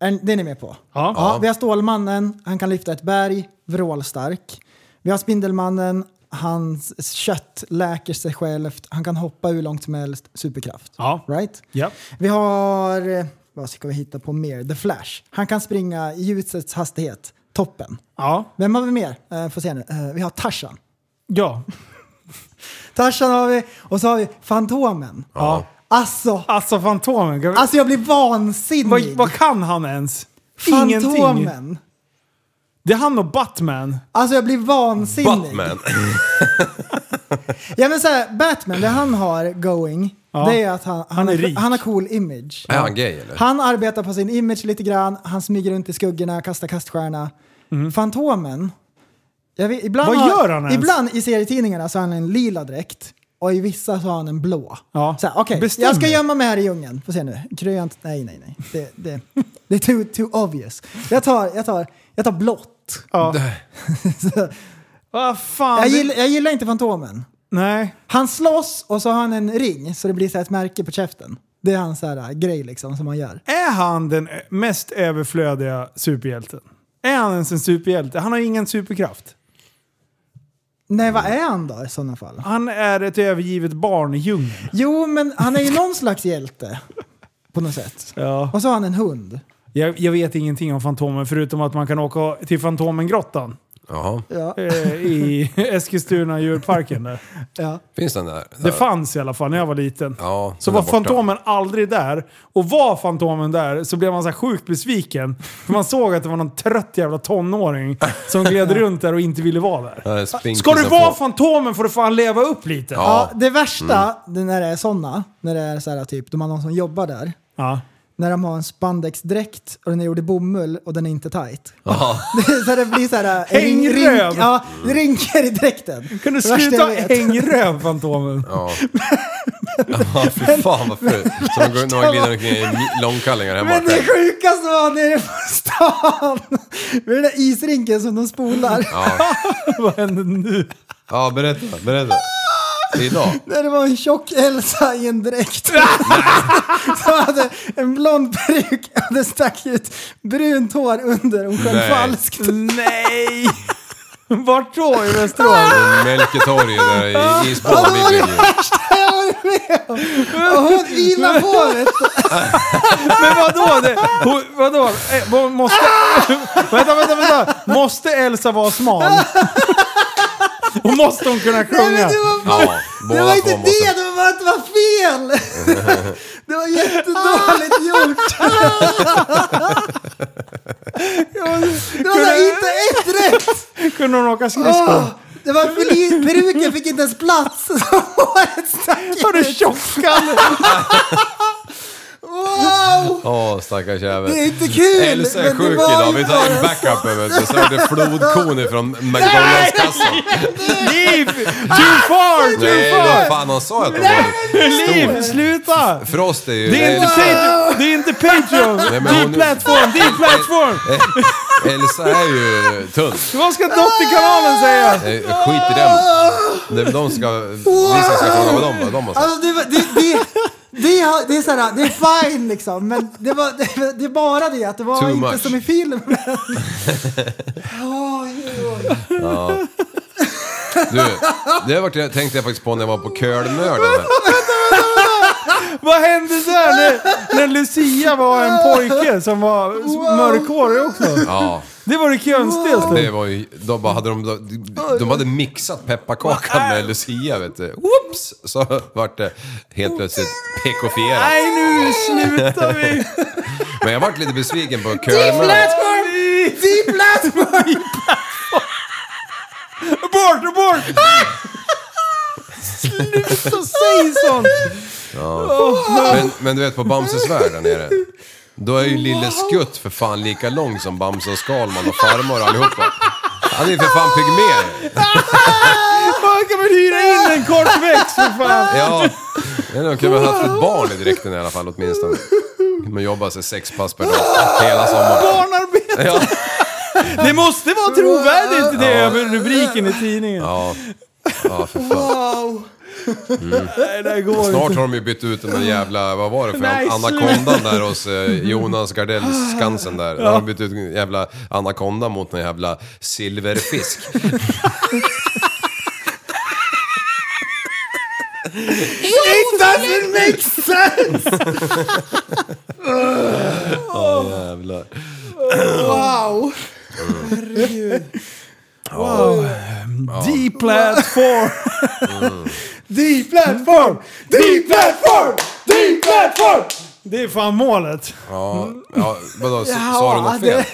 Speaker 2: Är- Det är ni med på?
Speaker 1: Ja.
Speaker 2: vi har Stålmannen, han kan lyfta ett berg, vrålstark. Vi har Spindelmannen, hans kött läker sig självt, han kan hoppa hur långt som helst, superkraft.
Speaker 1: Ja.
Speaker 2: Right?
Speaker 1: Ja.
Speaker 2: Vi har, eh, vad ska vi hitta på mer? The Flash. Han kan springa i ljusets hastighet, toppen.
Speaker 1: Ja.
Speaker 2: Vem har vi mer? Eh, får se nu. Eh, vi har Tarzan.
Speaker 1: Ja.
Speaker 2: Tarzan har vi och så har vi Fantomen.
Speaker 1: ja.
Speaker 2: Alltså,
Speaker 1: Alltså Fantomen. Kan vi-
Speaker 2: alltså jag blir vansinnig.
Speaker 1: vad, vad kan han ens? Ingenting.
Speaker 2: Fantomen.
Speaker 1: Det är han och Batman.
Speaker 2: Alltså jag blir vansinnig.
Speaker 3: Batman. [LAUGHS]
Speaker 2: Ja men såhär, Batman, det han har going, det är att han, han,
Speaker 1: Han är
Speaker 2: har-
Speaker 1: rik.
Speaker 2: han har cool image.
Speaker 3: Är han gay eller?
Speaker 2: Han arbetar på sin image lite grann, han smyger runt i skuggorna, kastar kaststjärna. Fantomen, jag vet, ibland,
Speaker 1: Mm. Vad
Speaker 2: har-
Speaker 1: gör han ens?
Speaker 2: ibland i serietidningarna så har han en lila dräkt och i vissa så har han en blå.
Speaker 1: Ja.
Speaker 2: Så här, okej,
Speaker 1: Bestäm
Speaker 2: jag ska
Speaker 1: dig.
Speaker 2: gömma mig här i djungeln. Får se nu. Grönt, nej nej nej. Det, det, det är too, too obvious. Jag tar, jag tar, jag tar blått.
Speaker 1: Ja. Vad fan.
Speaker 2: [LAUGHS] Jag
Speaker 1: det-
Speaker 2: gillar, jag gillar inte Fantomen.
Speaker 1: Nej.
Speaker 2: Han slåss och så har han en ring så det blir så här ett märke på käften. Det är hans så här, grej liksom som han gör.
Speaker 1: Är han den ö- mest överflödiga superhjälten? Är han ens en superhjälte? Han har ingen superkraft.
Speaker 2: Nej, vad
Speaker 1: Mm.
Speaker 2: är han då i sådana fall?
Speaker 1: Han är ett övergivet barn i djungeln.
Speaker 2: Jo, men han är ju någon slags hjälte. På något sätt.
Speaker 1: Ja.
Speaker 2: Och så har han en hund.
Speaker 1: Jag, jag vet ingenting om Fantomen förutom att man kan åka till Fantomengrottan
Speaker 3: Jaha.
Speaker 2: Ja,
Speaker 1: eh,
Speaker 3: [LAUGHS]
Speaker 1: i Eskilstuna djurparken. Där.
Speaker 2: ja.
Speaker 3: Finns den där?
Speaker 1: Det fanns i alla fall när jag var liten.
Speaker 3: Ja,
Speaker 1: så
Speaker 3: den
Speaker 1: var
Speaker 3: där borta.
Speaker 1: Fantomen aldrig där. Och var Fantomen där så blev man så här sjukt besviken. För man såg att det var någon trött jävla tonåring som
Speaker 3: [LAUGHS]
Speaker 1: gled runt där och inte ville vara där.
Speaker 3: Där sprinkar
Speaker 1: Ska du
Speaker 3: sig
Speaker 1: vara
Speaker 3: på-
Speaker 1: Fantomen får du fan leva upp lite.
Speaker 2: ja
Speaker 3: Ja.
Speaker 2: det värsta det är när det är sådana, när det är så här typ, de har någon som jobbar där.
Speaker 1: Ja.
Speaker 2: När de har en spandexdräkt och den är gjord i bomull och den är inte tajt. [LAUGHS] Det, är så här, det blir så här... eh, ring- ring-
Speaker 1: Hängröv!
Speaker 2: Ja, det rynkar i dräkten.
Speaker 1: Kan du
Speaker 2: Det värsta
Speaker 1: sluta
Speaker 2: jag
Speaker 1: [LAUGHS]
Speaker 2: vet.
Speaker 1: hängröv Fantomen?
Speaker 3: Ja. Ja, fy fan vad fult. Som går- någon glider omkring i mj- långkallingar hemma
Speaker 2: Men det
Speaker 3: själv.
Speaker 2: sjukaste var nere på stan. [LAUGHS] Vid den där isrinken som de spolar. [LAUGHS]
Speaker 1: Vad händer nu?
Speaker 3: Ja, berätta, berätta. Det är idag.
Speaker 2: Där det var en tjock Elsa i
Speaker 1: [LAUGHS]
Speaker 2: en dräkt. [LAUGHS] som hade en blond peruk och det stack ut brunt hår under. Hon sjöng
Speaker 3: Nej.
Speaker 2: falskt.
Speaker 1: Nej! Vart då i Västerås?
Speaker 3: Mälketorget där i Isbo.
Speaker 2: Ja, det var det värsta jag varit med om. [LAUGHS] Och hon
Speaker 1: [LAUGHS]
Speaker 2: ilade på vet du.
Speaker 1: Men vadå? Det, hon, vadå? Eh, hon måste... vänta, vänta, vänta! Måste Elsa vara smal? Och måste hon kunna
Speaker 2: Nej, men
Speaker 1: sjunga?
Speaker 2: det var
Speaker 3: Ja,
Speaker 2: Det var
Speaker 3: båda
Speaker 2: inte
Speaker 3: två
Speaker 2: det,
Speaker 3: måste...
Speaker 2: det var bara att det var
Speaker 1: [LAUGHS]
Speaker 2: fel! Det var jättedåligt gjort! Det var där, inte ett rätt!
Speaker 1: Kunde hon åka skridskor?
Speaker 2: Åh, det var för li- peruken fick inte ens plats! [LAUGHS] Så Håret stack
Speaker 1: Var du
Speaker 2: ut!
Speaker 1: tjockskalle?
Speaker 2: Wow!
Speaker 3: Åh, stackars jävel.
Speaker 2: Det är inte kul!
Speaker 3: Elsa är
Speaker 2: men det
Speaker 3: sjuk
Speaker 2: var
Speaker 3: idag,
Speaker 2: ju
Speaker 3: vi
Speaker 2: bara
Speaker 3: tar in
Speaker 2: så.
Speaker 3: backup. vet du. Så är det flodkon ifrån McDonalds-kassan.
Speaker 1: Liv! Too far!
Speaker 3: Nej,
Speaker 1: Too
Speaker 3: vad
Speaker 1: far!
Speaker 3: fan han sa ju att de var...
Speaker 1: Liv, sluta!
Speaker 3: Frost är ju...
Speaker 1: Det är inte, Patreon, det är inte Patreon!
Speaker 3: Nej, men
Speaker 1: Det är
Speaker 3: hon-
Speaker 1: plattform, det är plattform!
Speaker 3: Elsa är ju tunn.
Speaker 1: Vad ska Dotterkanalen säga?
Speaker 3: Eh, Skit i dem. Det är väl de som ska... Vi som ska fråga vad de, vad de har sagt.
Speaker 2: Alltså det, var- det, det, det, har- det är såhär, det är fine liksom, men det, var, det, det är bara det att det var
Speaker 3: Too
Speaker 2: inte
Speaker 3: much.
Speaker 2: som i filmen. Oj, oj.
Speaker 3: Du, det har varit, tänkte jag faktiskt på när jag var på Kölmörden.
Speaker 1: Vad hände där när, när Lucia var en pojke som var mörkhårig också?
Speaker 3: Ja,
Speaker 1: Det var det konstigaste.
Speaker 3: det var ju... De, bara, hade de, de hade mixat pepparkakan med Lucia, vet du. Whoops! Så vart det helt plötsligt pekofierat.
Speaker 1: Nej nu slutar vi!
Speaker 3: Men jag vart lite besviken på Kölmörden.
Speaker 2: Plattform! Deep plattform!
Speaker 1: Bort, bort! Sluta säga sånt!
Speaker 3: Men, men du vet på Bamses värld där nere. Då är ju lille Skutt för fan lika lång som Bamse och Skalman och farmor och allihopa. Han är ju för fan pygmé.
Speaker 1: Man kan väl hyra in en kort växt för fan!
Speaker 3: Ja, men de kunde väl ha haft ett barn i dräkten i alla fall åtminstone. Man jobbar sig sex pass per dag hela sommaren.
Speaker 1: Barnarbete!
Speaker 3: Ja,
Speaker 1: Det måste vara trovärdigt det är över rubriken i tidningen.
Speaker 3: ja. ja för fan.
Speaker 1: Nej, det här går
Speaker 3: Snart
Speaker 1: inte.
Speaker 3: har de ju bytt ut den där jävla, vad var det för
Speaker 1: Nej,
Speaker 3: anakondan där hos eh, Jonas Gardells
Speaker 2: Ah.
Speaker 3: Skansen där. De har bytt ut en jävla anakonda mot en jävla silverfisk.
Speaker 2: It doesn't make sense!
Speaker 3: [LAUGHS] Jävlar.
Speaker 2: Wow!
Speaker 1: [LAUGHS] D-platform!
Speaker 2: Deep plattform! Deep platform! Deep platform!
Speaker 1: Det är fan målet.
Speaker 3: Ja, ja vadå, s- sa du något fel?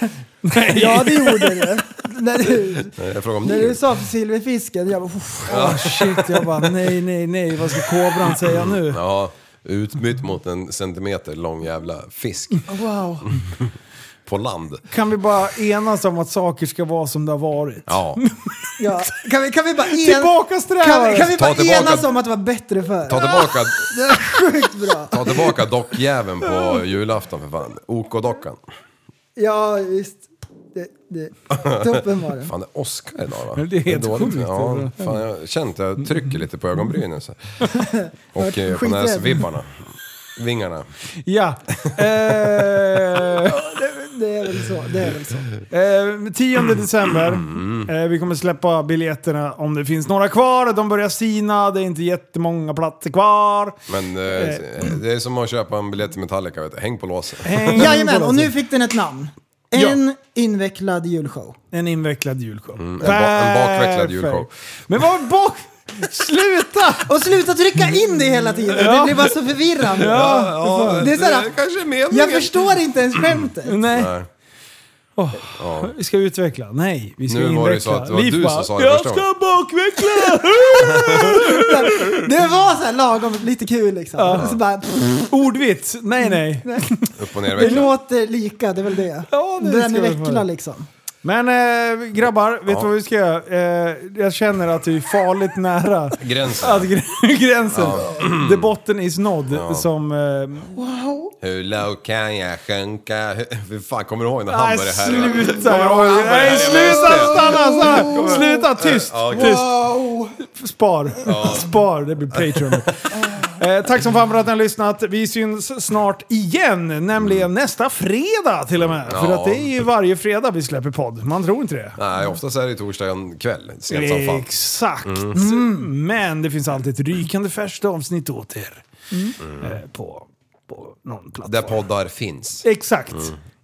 Speaker 2: det- Ja, det gjorde det. När du,
Speaker 3: Jag frågade om
Speaker 2: när du
Speaker 3: ni...
Speaker 2: sa för silverfisken, jag bara "Uff, oh, shit, jag bara nej, nej, nej, vad ska kobran säga nu?
Speaker 3: Ja, utbytt mot en centimeter lång jävla fisk
Speaker 2: Wow.
Speaker 3: på land.
Speaker 1: Kan vi bara enas om att saker ska vara som det har varit?
Speaker 3: Ja,
Speaker 2: Ja. Kan, vi, kan vi bara, en,
Speaker 1: Tillbaka
Speaker 2: kan, vi- kan vi
Speaker 3: Ta
Speaker 2: bara
Speaker 3: tillbaka-
Speaker 2: enas om att det var bättre förr?
Speaker 3: ta tillbaka,
Speaker 2: Det är sjukt bra.
Speaker 1: [LAUGHS]
Speaker 3: ta tillbaka dockjäveln på julafton för fan. OK-dockan.
Speaker 2: Ja, visst. Det, det. Toppen var det.
Speaker 3: Fan det är Oscar idag va?
Speaker 1: Det är helt
Speaker 3: dåligt.
Speaker 1: sjukt, Mm.
Speaker 3: Ja,
Speaker 1: det är
Speaker 3: fan jag har känt jag trycker lite på
Speaker 1: [LAUGHS]
Speaker 3: ögonbrynen så. här. Och eh, på
Speaker 2: Skiträdd.
Speaker 3: näsvibbarna. Vingarna.
Speaker 1: Ja. Eh,
Speaker 2: Det är väl så. Det är väl så.
Speaker 1: Eh, 10 december.
Speaker 3: Mm.
Speaker 1: Eh, vi kommer släppa biljetterna om det finns några kvar. De börjar sina, det är inte jättemånga platser
Speaker 3: [LAUGHS]
Speaker 1: kvar.
Speaker 3: Men eh, det är som att köpa en biljett till Metallica vet du. Häng på låset.
Speaker 1: Häng
Speaker 2: Jajamän,
Speaker 1: på
Speaker 2: och
Speaker 1: det.
Speaker 2: nu fick den ett namn.
Speaker 1: Ja.
Speaker 2: En invecklad julshow.
Speaker 1: En invecklad julshow. Mm,
Speaker 3: en ba- en bakkvecklad julshow.
Speaker 1: Men vad bak... Sluta!
Speaker 2: Och sluta trycka in det hela tiden. Det blir bara så förvirrande.
Speaker 3: Ja,
Speaker 2: Det är så här-
Speaker 3: kanske är meningen.
Speaker 2: Jag förstår inte ens skämtet.
Speaker 1: Nej.
Speaker 3: Nej.
Speaker 1: Åh, Vi ska utveckla. Nej, vi ska
Speaker 3: Nu
Speaker 1: inveckla.
Speaker 3: var det så att det var
Speaker 1: Liv
Speaker 3: du som
Speaker 1: bara,
Speaker 3: sa det
Speaker 1: Jag
Speaker 3: första gången."
Speaker 1: ska
Speaker 3: [LAUGHS]
Speaker 1: bakveckla!
Speaker 2: Det var så här lagom lite kul liksom. Och Så bara, pff,
Speaker 1: Ordvits. Nej, nej.
Speaker 3: Upp och ner
Speaker 2: det
Speaker 3: veckan.
Speaker 2: låter lika, det är väl det.
Speaker 1: Ja, det
Speaker 2: den
Speaker 1: ska
Speaker 2: är
Speaker 1: vi få
Speaker 2: veckla
Speaker 1: det.
Speaker 2: liksom.
Speaker 1: Men eh, grabbar, vet du
Speaker 3: Ja.
Speaker 1: vad vi ska göra? Eh, jag känner att det är farligt nära
Speaker 3: Gränsen.
Speaker 1: att gr- [LAUGHS] gränsen. [CLEARS THROAT] The botten is nådd. Som... Eh,
Speaker 3: Hur lågt kan jag sjunka? Hur fan, kommer du ihåg när han
Speaker 1: nej,
Speaker 3: började här?
Speaker 1: sluta!
Speaker 3: Kommer du
Speaker 1: Jag,
Speaker 3: ihåg när han började
Speaker 1: nej,
Speaker 3: härja?
Speaker 1: sluta!
Speaker 3: Just det.
Speaker 1: Stanna! stanna. Sluta! Tyst!
Speaker 3: Ja, okej.
Speaker 1: tyst. Spar. [LAUGHS] Spar, det blir Patreon. Eh, tack som fan för att ni har lyssnat. Vi syns snart igen, nämligen nästa fredag till och med. För
Speaker 3: Ja.
Speaker 1: att det är ju varje fredag vi släpper podd. Man tror inte det.
Speaker 3: Nej, oftast är det torsdagen kväll. Sent som fan.
Speaker 1: Exakt. Mm. Men det finns alltid ett rykande färskt avsnitt åt er. Eh, på, på någon plattform.
Speaker 3: Där poddar finns.
Speaker 1: Exakt.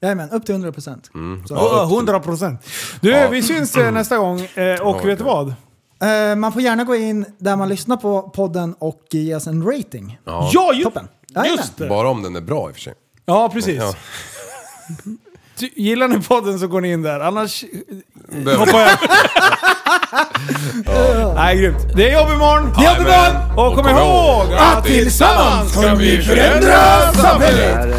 Speaker 2: Jajamän, upp till 100%.
Speaker 3: Mm.
Speaker 1: Så, ja, 100 procent. Du,
Speaker 3: Ja.
Speaker 1: vi syns eh, nästa gång. Eh, och
Speaker 3: Ja,
Speaker 1: vet du
Speaker 3: det.
Speaker 1: vad?
Speaker 2: Eh, man får gärna gå in där man lyssnar på podden och ge oss en rating.
Speaker 3: Ja.
Speaker 1: Ja, ju,
Speaker 2: Toppen. Jajamän.
Speaker 1: just det.
Speaker 3: Bara om den är bra i och för sig.
Speaker 1: Ja, precis.
Speaker 3: Ja.
Speaker 1: Ty- Gillar ni podden så går ni in där, annars eh,
Speaker 3: Behöver-
Speaker 1: hoppar jag. Nej, grymt. Det är jobb imorgon! Det är jobb
Speaker 3: Jajamän.
Speaker 1: imorgon! Och kom ihåg att tillsammans
Speaker 3: kan vi förändra samhället!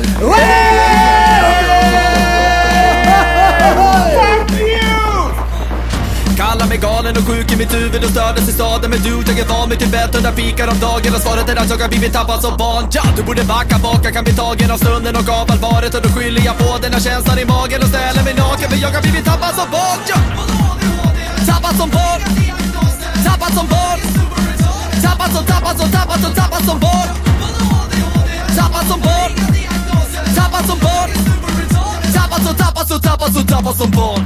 Speaker 8: Kallar mig galen och sjuk i mitt huvud och stördes i staden Men du, jag är van vid Tibet och där fikar om dagen Och svaret är att jag har blivit tappad som barn ja, Du borde backa bak, jag kan bli tagen av stunden och av allvaret Och då skyller jag på den här känslan i magen och ställer mig naken För jag har blivit tappad som barn ja. Tappad som barn Tappad som barn Tappad som, tappad som, tappad som, tappad som barn Tappad som barn Tappad som barn Tappad som, tappad som, tappad som, tappad som barn